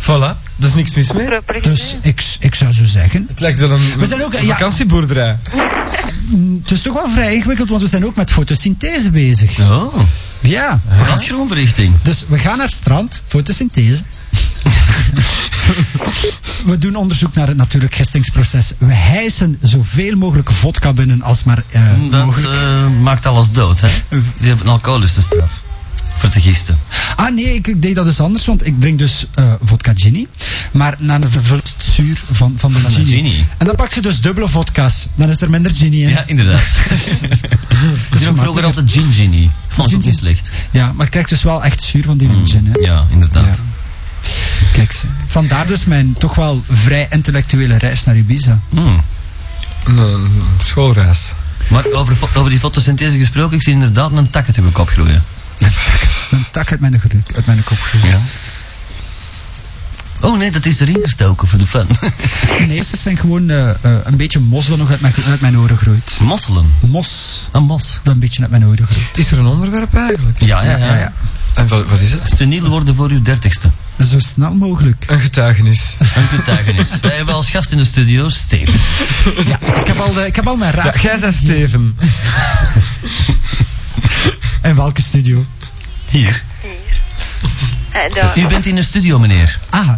Speaker 6: Voilà. Er is niks mis mee.
Speaker 4: Proper
Speaker 2: Dus
Speaker 4: gezien.
Speaker 2: ik, ik zou zo zeggen,
Speaker 6: Het lijkt wel een,
Speaker 2: We zijn ook-
Speaker 6: een
Speaker 2: ja.
Speaker 6: vakantieboerderij.
Speaker 2: mm, het is toch wel vrij ingewikkeld, want we zijn ook met fotosynthese bezig.
Speaker 1: Oh,
Speaker 2: Ja.
Speaker 1: brandgroenberichting.
Speaker 2: Dus we gaan naar het strand, fotosynthese. we doen onderzoek naar het natuurlijk gistingsproces. We hijsen zoveel mogelijk vodka binnen als maar eh,
Speaker 1: Dat
Speaker 2: mogelijk.
Speaker 1: eh, maakt alles dood, hè? Die hebben een alcoholische straf. Voor te gisten.
Speaker 2: Ah nee, ik, ik deed dat dus anders, want ik drink dus eh, vodka genie. Maar na een vervulst zuur van, van de
Speaker 1: Van de
Speaker 2: genie.
Speaker 1: genie.
Speaker 2: En dan pak je dus dubbele vodka's. Dan is er minder genie in.
Speaker 1: Ja, inderdaad. Ik dronk vroeger
Speaker 2: gemakkelijker.
Speaker 1: altijd gin genie. Vond ik
Speaker 2: Gin
Speaker 1: ook niet
Speaker 2: gin.
Speaker 1: slecht.
Speaker 2: Ja, maar ik krijg dus wel echt zuur van die
Speaker 1: Mm,
Speaker 2: gin. Hè.
Speaker 1: Ja, inderdaad.
Speaker 2: Ja. Kijk, ze. vandaar dus mijn toch wel vrij intellectuele reis naar Ibiza.
Speaker 1: Mm.
Speaker 6: Een, een schoolreis.
Speaker 1: Maar over, fo- over die fotosynthese gesproken, ik zie inderdaad een tak uit mijn kop groeien.
Speaker 2: Een tak uit mijn, gelu- uit mijn kop gegaan.
Speaker 1: Ja. Oh nee, dat is erin gestoken voor de fun.
Speaker 2: Nee, ze zijn gewoon eh, eh, een beetje mos dat nog uit mijn, uit mijn oren groeit.
Speaker 1: Mosselen.
Speaker 2: Mos
Speaker 1: Een mos.
Speaker 2: dat een beetje uit mijn oren groeit.
Speaker 6: Is er een onderwerp eigenlijk?
Speaker 1: Ja,
Speaker 2: Ah,
Speaker 1: ja, ja.
Speaker 6: En wat, wat is het?
Speaker 1: Seniel worden voor uw dertigste.
Speaker 2: Zo snel mogelijk.
Speaker 6: Een getuigenis.
Speaker 1: Een getuigenis. Wij hebben als gast in de studio Steven.
Speaker 2: Ja, ik heb al, de, ik heb al mijn
Speaker 6: Ja,
Speaker 2: raad.
Speaker 6: jij zei Steven.
Speaker 2: In welke studio?
Speaker 1: Hier.
Speaker 4: Hier. En daar.
Speaker 1: U bent in de studio, meneer. Eh.
Speaker 2: Ah,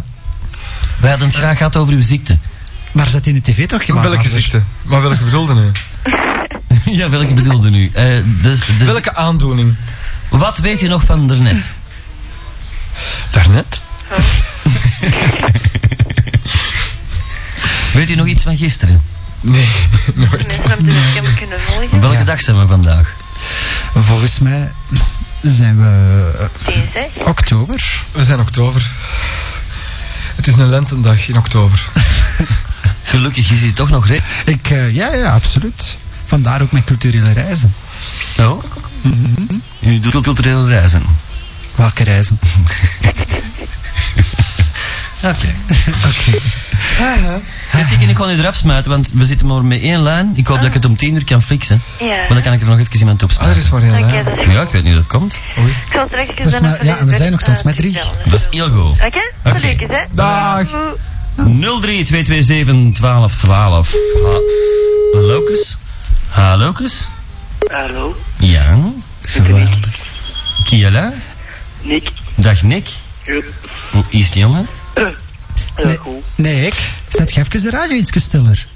Speaker 1: Wij hadden het graag gehad over uw ziekte.
Speaker 2: maar zat in de tv toch gemaakt?
Speaker 6: welke
Speaker 2: Anders?
Speaker 6: ziekte? Maar welke bedoelde nu?
Speaker 1: Ja, welke bedoelde u? Eh, de, de-
Speaker 6: Welke aandoening?
Speaker 1: Wat weet je nog van daarnet?
Speaker 6: Daarnet?
Speaker 1: Weet u nog iets van gisteren?
Speaker 6: Nee, nooit.
Speaker 4: Nee, want dus ik heb hem kunnen volgen.
Speaker 1: Welke
Speaker 2: Ja.
Speaker 1: dag zijn we vandaag?
Speaker 2: Volgens mij zijn we eh,
Speaker 4: Deze.
Speaker 2: oktober.
Speaker 6: We zijn oktober. Het is een lentendag in oktober.
Speaker 1: Gelukkig is hij toch nog re...
Speaker 2: Ik, eh, ja, ja, absoluut. Vandaar ook mijn culturele reizen.
Speaker 1: Oh? U doet culturele reizen.
Speaker 2: Welke reizen?
Speaker 1: Oké. Dus ik, ik ga nu eraf smijten, want we zitten maar met één lijn. Ik hoop dat ik het om tien uur kan fixen.
Speaker 4: Ja.
Speaker 1: Maar dan kan ik er nog even iemand op
Speaker 6: Ah, er is maar één
Speaker 4: Oké,
Speaker 6: lijn.
Speaker 4: dat is
Speaker 1: Ja, ik
Speaker 4: goed.
Speaker 1: weet niet hoe dat komt.
Speaker 4: Ik zal straks
Speaker 2: Dat is
Speaker 4: dan
Speaker 2: maar-
Speaker 4: even
Speaker 2: ja,
Speaker 4: uw
Speaker 2: we zijn
Speaker 4: bed,
Speaker 2: nogthans
Speaker 4: eh,
Speaker 2: met drie.
Speaker 4: vertellen.
Speaker 1: Dat is heel goed.
Speaker 4: Oké,
Speaker 1: Oké.
Speaker 4: gelukkig hè.
Speaker 6: Dag.
Speaker 4: Doei.
Speaker 1: 03 227 1212. Ha- Locus? Ha, Locus?
Speaker 7: Hallo,
Speaker 1: Ja.
Speaker 2: Geweldig.
Speaker 1: Kiela?
Speaker 7: Nick.
Speaker 1: Dag Nick.
Speaker 7: Ja,
Speaker 1: Hoe is het jongen?
Speaker 7: ja,
Speaker 2: Nee.
Speaker 7: goed.
Speaker 2: Nee, ik. Zet je even de radio iets stiller.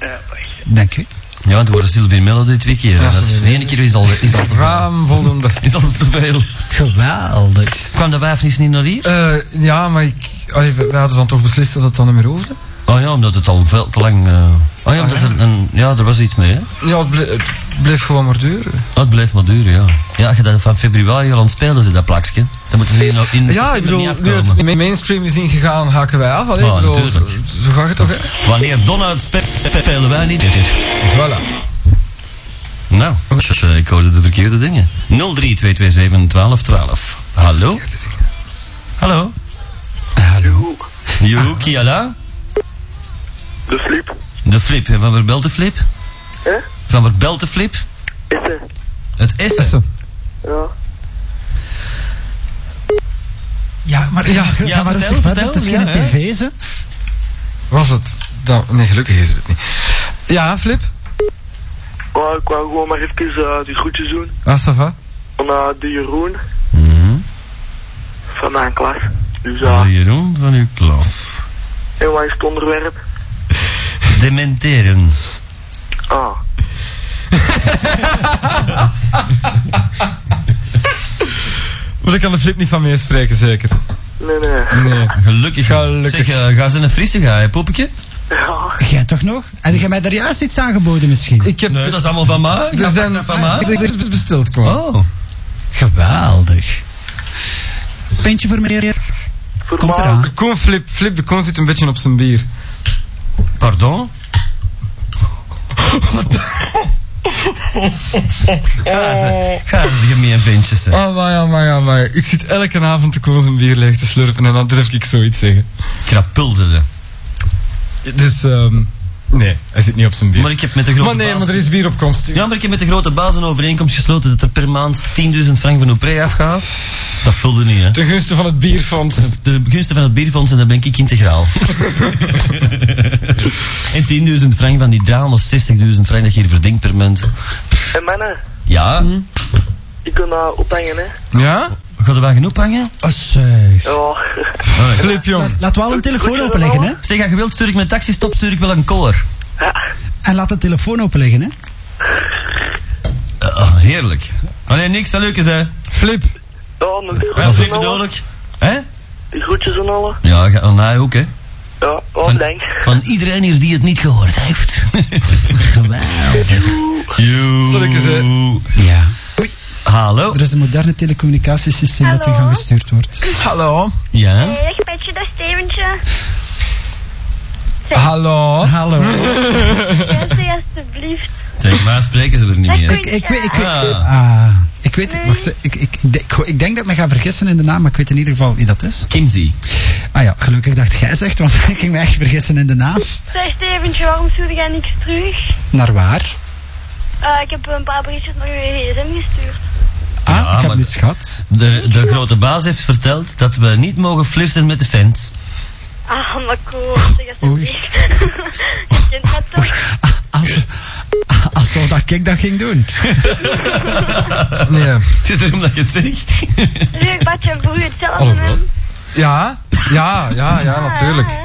Speaker 7: Ja, wacht.
Speaker 2: Dank u.
Speaker 1: Ja, want we horen Sylvie Melody twee keer.
Speaker 6: Ja,
Speaker 1: dat is,
Speaker 6: Sylvie
Speaker 1: de ene keer is al, is, al,
Speaker 6: Raam voldoende.
Speaker 1: is al te veel.
Speaker 2: Geweldig.
Speaker 1: Kwam de wijfnis niet naar hier?
Speaker 6: Eh, ja, maar ik, allee, we we hadden dan toch beslist dat het dan niet meer hoefde?
Speaker 1: Oh ja, omdat het al veel te lang... eh Oh ja, omdat
Speaker 6: Ah, ja.
Speaker 1: Er, een, ja, er was iets mee, hè?
Speaker 6: Ja, het, ble- het bleef gewoon maar duren.
Speaker 1: Oh, het blijft maar duren, ja. Ja, als je dat van februari al aan het spelen zit, dat plakje. Dan moeten ze hier nog in de
Speaker 6: Ja, ik
Speaker 1: september
Speaker 6: bedoel, nu
Speaker 1: niet
Speaker 6: het
Speaker 1: afkomen.
Speaker 6: in de mainstream is ingegaan, haken wij af. Allee,
Speaker 1: Ja,
Speaker 6: ik bedoel, zo,
Speaker 1: natuurlijk.
Speaker 6: zo gaat het toch, hè?
Speaker 1: Wanneer Donald speelt, spelen wij niet meer.
Speaker 6: Voilà.
Speaker 1: Nou, dus, eh, ik hoorde de verkeerde dingen. 03-227-1212. Hallo? Hallo?
Speaker 7: Hallo.
Speaker 1: Joe, Kiala?
Speaker 7: De slip.
Speaker 1: De Flip. En van waar belt de Flip?
Speaker 7: Hè?
Speaker 1: Van waar belt de Flip?
Speaker 7: Is er?
Speaker 1: Het Essen.
Speaker 6: Essen.
Speaker 7: Ja.
Speaker 2: Ja, maar ja, ga
Speaker 1: ja,
Speaker 2: maar
Speaker 1: vertel,
Speaker 2: rustig verder.
Speaker 1: vertel,
Speaker 2: Het is geen
Speaker 1: ja, hè.
Speaker 2: tv, ze.
Speaker 6: Was het? Dan, nee, gelukkig is het niet. Ja, Flip?
Speaker 7: Maar Oh, ik wou gewoon maar even eh, die groetjes doen
Speaker 6: Ah, ça va?
Speaker 7: van eh, de Jeroen
Speaker 1: Mhm.
Speaker 7: van mijn klas. Dus ja,
Speaker 1: Jeroen van uw klas.
Speaker 7: en wat is het onderwerp?
Speaker 1: Dementeren.
Speaker 7: Ah.
Speaker 6: Maar ik kan de Flip niet van meespreken, zeker.
Speaker 7: Nee, nee.
Speaker 6: Nee.
Speaker 1: Gelukkig.
Speaker 6: Gelukkig.
Speaker 1: Zeg, eh, ga ze een frisse ga, hè, poepetje?
Speaker 7: Ja.
Speaker 2: Jij toch nog? En jij mij daar juist iets aangeboden misschien?
Speaker 6: Ik heb...
Speaker 1: Nee, dat is allemaal van mij.
Speaker 6: er zijn... Ah,
Speaker 1: van mij.
Speaker 6: Ik denk dat het besteld kwam.
Speaker 1: Oh.
Speaker 2: Geweldig. Pintje voor meneer.
Speaker 7: Voor
Speaker 2: Komt
Speaker 7: mij-
Speaker 2: eraan.
Speaker 6: De koon, Flip, Flip, de koon zit een beetje op zijn bier.
Speaker 1: Pardon? Ga ze, ga ze de gemeen ventjes zijn.
Speaker 6: Oh, maar ja, maar ja, maar. Ik zit elke avond de koon zijn bier leeg te slurpen en dan durf ik zoiets zeggen.
Speaker 1: Krapul ze. de.
Speaker 6: Dus, ehm... Nee, hij zit niet op zijn bier.
Speaker 1: Maar ik heb met de grote
Speaker 6: Maar nee,
Speaker 1: baas-
Speaker 6: maar er is bier op komst.
Speaker 1: Ja, maar ik heb met de grote baas een overeenkomst gesloten dat er per maand 10.000 frank van Opré afgaat. Dat vulde niet, hè.
Speaker 6: Ten gunste van het bierfonds.
Speaker 1: De gunsten van het bierfonds en dan ben ik integraal. en 10.000 frank van die 360.000 frank dat je hier verdient per maand.
Speaker 7: En mannen,
Speaker 1: Ja,
Speaker 6: Hm.
Speaker 7: ik kan eh, ophangen, hè.
Speaker 6: Ja?
Speaker 1: gaat er wel genoeg hangen?
Speaker 6: Ah,
Speaker 2: Oh, zeg.
Speaker 7: Ja.
Speaker 6: Flip, jong.
Speaker 2: Laat, laat wel een telefoon openleggen, hè.
Speaker 1: Zeg, als je wilt stuur ik mijn taxi stop, stuur ik wel een koller.
Speaker 2: En laat de telefoon openleggen, hè.
Speaker 1: Eh, heerlijk. Alleen niks, dat leuk is hè.
Speaker 6: Flip.
Speaker 7: Ja, mijn
Speaker 1: Wel
Speaker 7: groetjes
Speaker 1: zeker
Speaker 7: en alle.
Speaker 1: duidelijk. Hè?
Speaker 7: Die groetjes en alle.
Speaker 1: Ja, ga- aan mij ook hè.
Speaker 7: Ja, oh,
Speaker 1: Van-
Speaker 7: dank.
Speaker 1: Van iedereen hier die het niet gehoord heeft. Geweldig. Joe.
Speaker 6: Zal ik eens, eh, hè?
Speaker 2: Ja.
Speaker 1: Hallo.
Speaker 2: Er is een moderne telecommunicatiesysteem dat in
Speaker 4: Hallo?
Speaker 2: gang gestuurd wordt.
Speaker 6: Hallo.
Speaker 1: Ja.
Speaker 4: Hey, dag Petje, dag Steventje.
Speaker 6: Hallo.
Speaker 2: Hallo.
Speaker 4: Kijk ze alsjeblieft.
Speaker 1: Tegen mij spreken ze er niet meer.
Speaker 2: Ik, ik, weet- ik, weet-
Speaker 1: Ah.
Speaker 2: ah, ik weet... Wacht, ik, ik, ik, ik, ik denk dat ik me ga vergissen in de naam, maar ik weet in ieder geval wie dat is.
Speaker 1: Kimsey.
Speaker 2: Ah ja, gelukkig dat jij zegt, want ik ging me echt vergissen in de naam.
Speaker 4: Zeg Steventje, waarom stuurde jij niks terug?
Speaker 2: Naar waar?
Speaker 4: Eh, ik heb een paar berichtjes naar je gsm gestuurd.
Speaker 2: Ah,
Speaker 1: Ja,
Speaker 2: ik heb
Speaker 1: maar-
Speaker 2: niets gehad.
Speaker 1: De, de grote baas heeft verteld dat we niet mogen flirten met de fans.
Speaker 4: Ah, maar cool, zeg alsjeblieft. je kent dat toch?
Speaker 2: Ah, als, ah, als zo dat ik dat ging doen.
Speaker 6: Nee.
Speaker 1: Het is erom dat je het zegt.
Speaker 4: Leuk, Badje, voor u hetzelfde,
Speaker 6: Oh,
Speaker 4: hè?
Speaker 6: wel. Ja? Ja, ja, ja,
Speaker 4: Ah,
Speaker 6: natuurlijk.
Speaker 4: ja.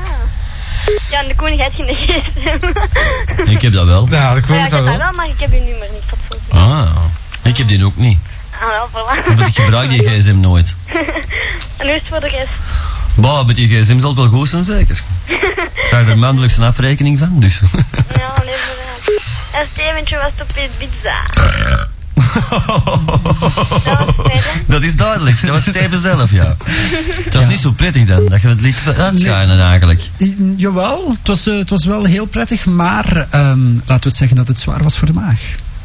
Speaker 4: Ja, en de koning heeft geen gsm.
Speaker 1: ik heb dat wel.
Speaker 6: Ja, dat
Speaker 4: Ja,
Speaker 6: komt
Speaker 4: ik heb
Speaker 6: wel.
Speaker 4: dat wel, maar ik heb uw nummer niet. Dat voelt niet.
Speaker 1: Ah. Ik heb die ook niet.
Speaker 4: Ah, wel, voilà.
Speaker 1: Want ik gebruik die gsm nooit.
Speaker 4: En nu is het voor de rest.
Speaker 1: Bah, met die gsm zal het wel goed zijn, zeker. Ga je er maandelijks een afrekening van, dus.
Speaker 4: Ja, nee, inderdaad. En Steventje was op in pizza.
Speaker 1: dat is duidelijk. Dat was Steven zelf, ja. Het was niet zo prettig dan, dat je het liet uitschijnen eigenlijk.
Speaker 2: I- Jawel, het was, eh, het was wel heel prettig, maar ehm, laten we het zeggen dat het zwaar was voor de maag.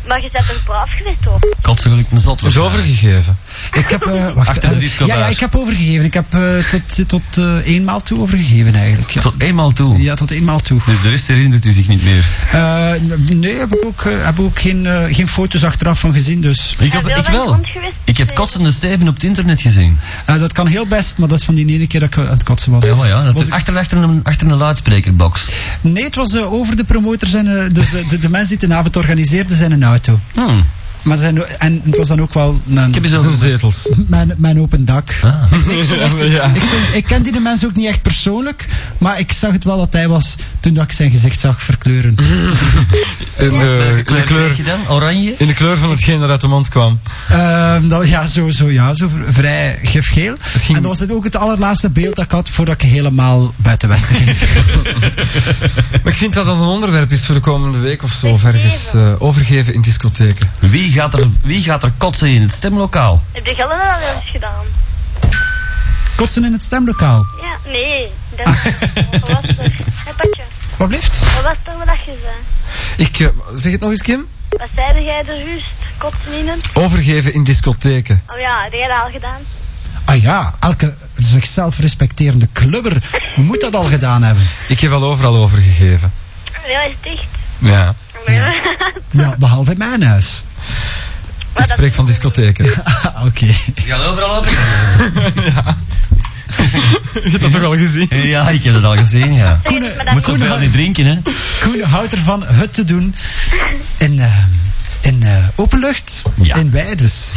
Speaker 4: Maar je zet een braaf gezicht op.
Speaker 1: Kotsegelijk een zot.
Speaker 6: Dat is overgegeven.
Speaker 2: Ik heb, eh, wacht,
Speaker 1: Achter de
Speaker 2: eh,
Speaker 1: discobar.
Speaker 2: ja, ja, ik heb overgegeven. Ik heb eh, tot, tot eh, eenmaal toe overgegeven eigenlijk. Ja.
Speaker 1: Tot eenmaal toe.
Speaker 2: Ja, tot eenmaal toe.
Speaker 1: Dus de rest herinnert u zich niet meer.
Speaker 2: Eh, n- nee, heb ik ook, eh, heb ik ook geen, eh, geen foto's achteraf van gezien, dus
Speaker 1: Ik, heb, ik wel. Ik heb kotsende Steven op het internet gezien.
Speaker 2: eh, dat kan heel best, maar dat is van die ene keer dat ik eh, aan het kotsen was.
Speaker 1: Ja, maar ja, dat
Speaker 2: Was
Speaker 1: is
Speaker 2: ik-
Speaker 1: achter, achter, een, achter een luidsprekerbox.
Speaker 2: Nee, het was eh, over de promotors en eh, dus, eh, de, de mensen die de avond organiseerden zijn een auto.
Speaker 1: Hm,
Speaker 2: Maar ze zijn, o- en het was dan ook wel een,
Speaker 1: ik heb eens
Speaker 6: Zijn
Speaker 1: over...
Speaker 6: zetels.
Speaker 2: mijn, mijn open dak.
Speaker 1: Ah.
Speaker 6: Ja.
Speaker 2: Ik, zeg, ik ken die mens ook niet echt persoonlijk, maar ik zag het wel dat hij was toen dat ik zijn gezicht zag verkleuren.
Speaker 6: In de,
Speaker 1: Welke
Speaker 6: in de
Speaker 1: Eh, kleur kreeg je
Speaker 6: kleur...
Speaker 1: dan? Oranje?
Speaker 6: In de kleur van hetgeen dat uit de mond kwam.
Speaker 2: Ehm, dat, ja, zo, zo, ja, zo v- vrij gifgeel.
Speaker 6: ging-
Speaker 2: En dat was het ook het allerlaatste beeld dat ik had voordat ik helemaal buiten Westen ging.
Speaker 6: Maar ik vind dat dat een onderwerp is voor de komende week of zo. Of ergens eh, overgeven in discotheken.
Speaker 1: Wie gaat, er, wie gaat er kotsen in het stemlokaal?
Speaker 4: Heb je Gelder dat al eens gedaan?
Speaker 2: Kotsen in het stemlokaal.
Speaker 4: Ja, nee. Dat Wat was er? Hé, Patje,
Speaker 2: Wat blijft?
Speaker 4: wat was er wat je zei?
Speaker 6: Ik, eh, zeg het nog eens, Kim?
Speaker 4: Wat zei jij er juist? Kotsen in het?
Speaker 6: Overgeven in discotheken.
Speaker 4: Oh ja, heb jij dat al gedaan?
Speaker 2: Ah ja, elke zichzelf respecterende clubber moet dat al gedaan hebben.
Speaker 6: Ik heb al overal overgegeven.
Speaker 4: Oh, Ja, is dicht.
Speaker 6: Ja.
Speaker 4: Ja.
Speaker 2: Ja, behalve in mijn huis.
Speaker 4: Maar
Speaker 6: Ik spreek van discotheken.
Speaker 2: Oké.
Speaker 1: Die gaan overal op.
Speaker 6: Je hebt dat toch al gezien?
Speaker 1: Ja, ik heb dat al gezien, ja.
Speaker 8: Koenen, maar
Speaker 1: Moet
Speaker 8: dat
Speaker 1: zoveel niet drinken, hè.
Speaker 2: Koen houdt ervan het te doen in, eh, in eh, openlucht,
Speaker 1: Ja.
Speaker 2: in weides.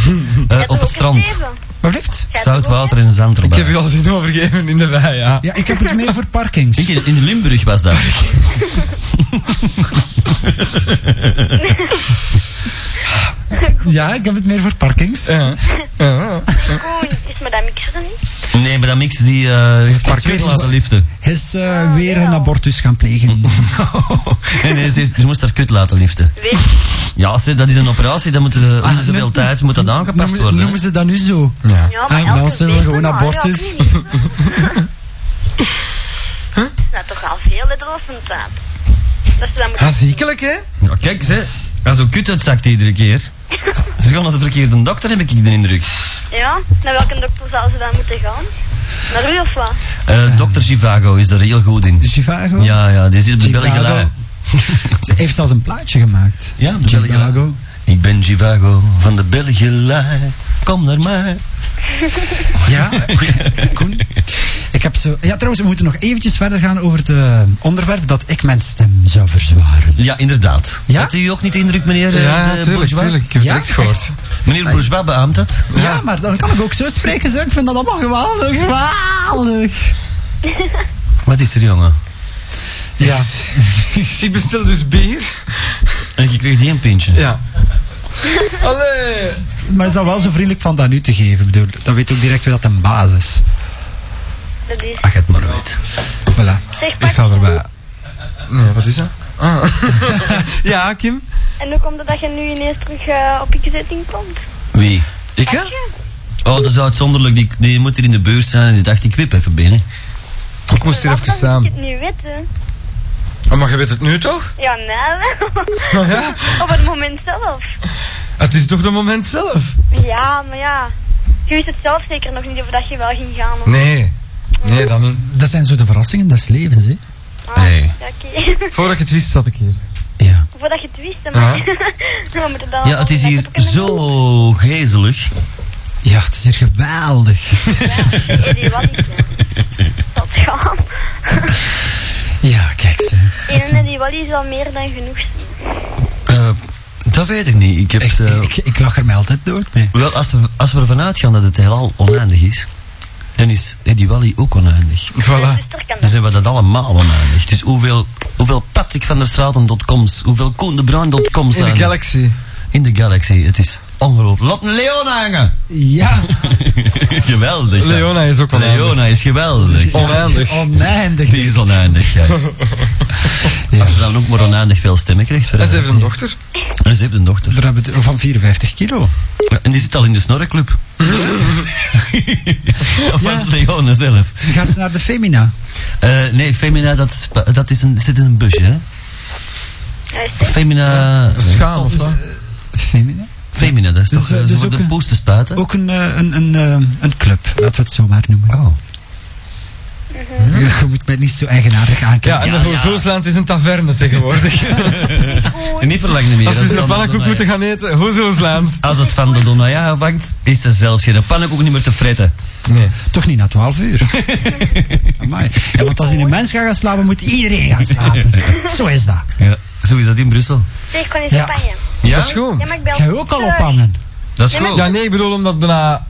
Speaker 1: Eh, op het strand.
Speaker 2: Wat blijft?
Speaker 1: Zout water en zand
Speaker 6: Ik
Speaker 1: erbij.
Speaker 6: heb u al zien overgeven in de wei, ja.
Speaker 2: Ja, ik heb het meer voor parkings.
Speaker 1: Ik in in Limburg was dat.
Speaker 2: Ja, ik heb het meer voor parkings.
Speaker 6: Ja. Ja.
Speaker 8: Koen, is maar dat mixer niet?
Speaker 1: Nee, maar dat mix die eh heeft
Speaker 2: Parkeren
Speaker 1: parkeren laten
Speaker 2: was-
Speaker 1: liften.
Speaker 2: Hij is eh, weer een abortus gaan plegen.
Speaker 1: Mm-hmm. Nee, nee, ze, ze moest haar kut laten liften.
Speaker 8: Weet
Speaker 1: Ja, ze, dat is een operatie, dat moet ze, om de zoveel
Speaker 2: noem-
Speaker 1: tijd moet dat aangepast
Speaker 2: Noemen-
Speaker 1: worden. hè.
Speaker 2: Noemen ze dat nu zo?
Speaker 6: Ja.
Speaker 8: Ja,
Speaker 2: Ah,
Speaker 8: maar
Speaker 2: nou,
Speaker 8: elke
Speaker 2: ze willen
Speaker 8: week
Speaker 2: gewoon
Speaker 8: wel, ja,
Speaker 2: abortus.
Speaker 8: ik weet niet. Dat
Speaker 4: Nou,
Speaker 8: is toch al veel, hè, dat was een taat. Dat ze dat moeten...
Speaker 6: Ah, ziekelijk, hè?
Speaker 1: Ja, kijk, ze, als zo'n kut uitzakt iedere keer. Ze gaan naar de verkeerde dokter, heb ik de indruk.
Speaker 8: Ja, naar welke dokter zou ze dan moeten gaan? Naar u of wat?
Speaker 1: Eh dokter Chivago is daar heel goed in.
Speaker 2: Chicago?
Speaker 1: Ja, ja, die zit op de
Speaker 2: Chivago.
Speaker 1: Belgische lijn.
Speaker 2: Ze heeft zelfs een plaatje gemaakt.
Speaker 1: Ja, op de Belgische lijn.
Speaker 2: Chicago.
Speaker 1: Ik ben Chivago van de Belgische lijn. Kom naar mij.
Speaker 2: Ja, Koen. Ik heb zo... Ja, trouwens, we moeten nog eventjes verder gaan over het eh, onderwerp dat ik mijn stem zou verzwaren.
Speaker 1: Ja, inderdaad.
Speaker 2: Ja?
Speaker 1: Had u ook niet de indruk, meneer eh,
Speaker 6: Ja,
Speaker 1: de
Speaker 6: tuurlijk,
Speaker 1: Bourgeois?
Speaker 6: tuurlijk. Ik heb
Speaker 2: Ja,
Speaker 6: het direct gehoord.
Speaker 1: Meneer Bourgeois beaamt dat.
Speaker 2: Ja, maar dan kan ik ook zo spreken, zo. Ik vind dat allemaal geweldig, geweldig.
Speaker 1: Wat is er, jongen?
Speaker 6: Ja. Ik bestel dus bier.
Speaker 1: En je kreeg die een pintje.
Speaker 6: Ja. Allee.
Speaker 2: Maar is dat wel zo vriendelijk van dat nu te geven? Ik bedoel, dan weet je ook direct wie dat een baas is.
Speaker 8: Dat is...
Speaker 1: Ach, het maar weet.
Speaker 6: Voilà.
Speaker 8: Zeg,
Speaker 6: Ik
Speaker 8: pak-
Speaker 6: sta erbij. Nee, wat is dat? Ah. ja, Kim.
Speaker 8: En hoe komt het dat je nu ineens terug eh, op je zetting komt?
Speaker 1: Wie?
Speaker 6: Ik, hè?
Speaker 1: Oh, dat is uitzonderlijk. Die, die moet hier in de buurt zijn en die dacht, ik wip even binnen.
Speaker 6: Ik moest hier even
Speaker 8: Waarom
Speaker 6: samen.
Speaker 8: moet Ik het niet weten.
Speaker 6: Oh, maar je weet het nu toch?
Speaker 8: Ja, nou wel.
Speaker 6: Oh, ja?
Speaker 8: Op het moment zelf.
Speaker 6: Ah, Het is toch de moment zelf?
Speaker 8: Ja, maar ja. Je wist het zelf zeker nog niet of dat je wel ging gaan. of-
Speaker 6: Nee. Nee, dan niet.
Speaker 2: Dat zijn zo de verrassingen des levens, hè?
Speaker 8: Ah,
Speaker 1: Nee.
Speaker 8: ja, oké.
Speaker 6: Voordat ik het wist, zat ik hier.
Speaker 2: Ja.
Speaker 8: Voordat je het wist, hè, maar... We moeten dat
Speaker 1: Ah. Ja, het is
Speaker 8: allemaal
Speaker 1: hier
Speaker 8: kunnen
Speaker 1: zo
Speaker 8: doen.
Speaker 1: gezelig.
Speaker 2: Ja, het is hier geweldig.
Speaker 8: Ja, ik weet wat ik Dat gaan.
Speaker 2: Ja, kijk ze.
Speaker 8: Eén en die Wally is al meer dan genoeg.
Speaker 1: Eh, dat weet ik niet. Ik heb
Speaker 2: Echt,
Speaker 1: eh,
Speaker 2: ik, ik lach er mij altijd dood mee.
Speaker 1: Wel, als we, als we ervan uitgaan dat het heelal oneindig is, dan is Eddie Wally ook oneindig.
Speaker 8: Mijn
Speaker 6: Voilà.
Speaker 8: zuster Dus kan
Speaker 1: Dan
Speaker 8: dat.
Speaker 1: zijn we dat allemaal oneindig. Dus hoeveel, hoeveel Patrick van der Straten.coms, hoeveel Koen de Bruin.com
Speaker 6: In
Speaker 1: zijn
Speaker 6: de
Speaker 1: er?
Speaker 6: galaxy.
Speaker 1: In de galaxy, het is ongelooflijk. Laat een Leona hangen!
Speaker 2: Ja,
Speaker 1: geweldig. ja.
Speaker 6: Leona is ook oneindig.
Speaker 1: Leona is geweldig.
Speaker 6: Oneindig.
Speaker 2: oneindig.
Speaker 1: Die is oneindig, ja. Als ze dan ook maar oneindig veel stemmen krijgt.
Speaker 6: En
Speaker 1: verder.
Speaker 6: ze heeft een dochter.
Speaker 1: En ze heeft een dochter.
Speaker 2: Daar hebben we het van 54 kilo.
Speaker 1: Ja, En die zit al in de snorreclub. of was het Leona zelf?
Speaker 2: Gaat ze naar de Femina?
Speaker 1: Eh, nee, Femina, dat, is, dat is een, zit in een busje, hè?
Speaker 8: Ja, is het?
Speaker 1: Femina...
Speaker 6: Schaam of
Speaker 2: Eh,
Speaker 6: wat?
Speaker 2: Femina?
Speaker 1: Femina, dat is
Speaker 2: Dus,
Speaker 1: toch...
Speaker 2: eh,
Speaker 1: eh,
Speaker 2: dus
Speaker 1: ze wordt
Speaker 2: ook
Speaker 1: de
Speaker 2: een-
Speaker 1: poesten spuiten.
Speaker 2: Ook een, eh, een, een, eh, een club, laten we het zo maar noemen.
Speaker 1: Oh.
Speaker 2: Je moet mij niet zo eigenaardig aankijken.
Speaker 6: Ja, en voor Zoosland is een taverne tegenwoordig.
Speaker 1: Dus- En niet verlengde meer.
Speaker 6: Als
Speaker 1: dat
Speaker 6: we
Speaker 1: is van
Speaker 6: een
Speaker 1: de
Speaker 6: pannenkoek
Speaker 1: Donaja.
Speaker 6: moeten gaan eten, hoe Zoosland?
Speaker 1: Als het van de Donaja afhangt, is er zelfs geen pannenkoek niet meer te fretten.
Speaker 6: Nee.
Speaker 2: Toch niet na 12 uur. Amai. Ja, want als je een mens gaat gaan slapen, moet iedereen gaan slapen. Zo is dat.
Speaker 1: Ja, zo is dat in Brussel.
Speaker 8: Zeg, ik kon in
Speaker 2: Ja.
Speaker 8: Spanje.
Speaker 1: Ja?
Speaker 6: Dat is goed.
Speaker 8: Ja, maar ik bel...
Speaker 2: Jij ook al
Speaker 8: terug.
Speaker 2: ophangen.
Speaker 1: Dat is
Speaker 8: Ja, maar-
Speaker 1: goed.
Speaker 6: Ja, nee, ik bedoel omdat het bijna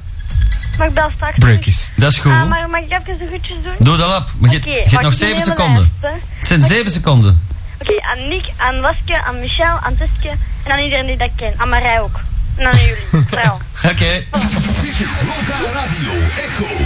Speaker 8: Maar ik bel straks
Speaker 6: break
Speaker 8: terug.
Speaker 6: is.
Speaker 1: Dat is goed.
Speaker 8: Ah, maar mag ik even zo goedjes doen?
Speaker 1: Doe dat op. Maar je,
Speaker 8: Oké,
Speaker 1: je hebt
Speaker 8: maar
Speaker 1: nog
Speaker 8: ik doe
Speaker 1: 7
Speaker 8: de hele
Speaker 1: seconden.
Speaker 8: lijst, hè.
Speaker 1: Het zijn 7 seconden.
Speaker 8: Oké, aan Nick, aan Waske, aan Michel, aan Tuske en aan iedereen die dat ik ken. Aan Marij ook. En aan jullie, vrouw.
Speaker 1: Oké.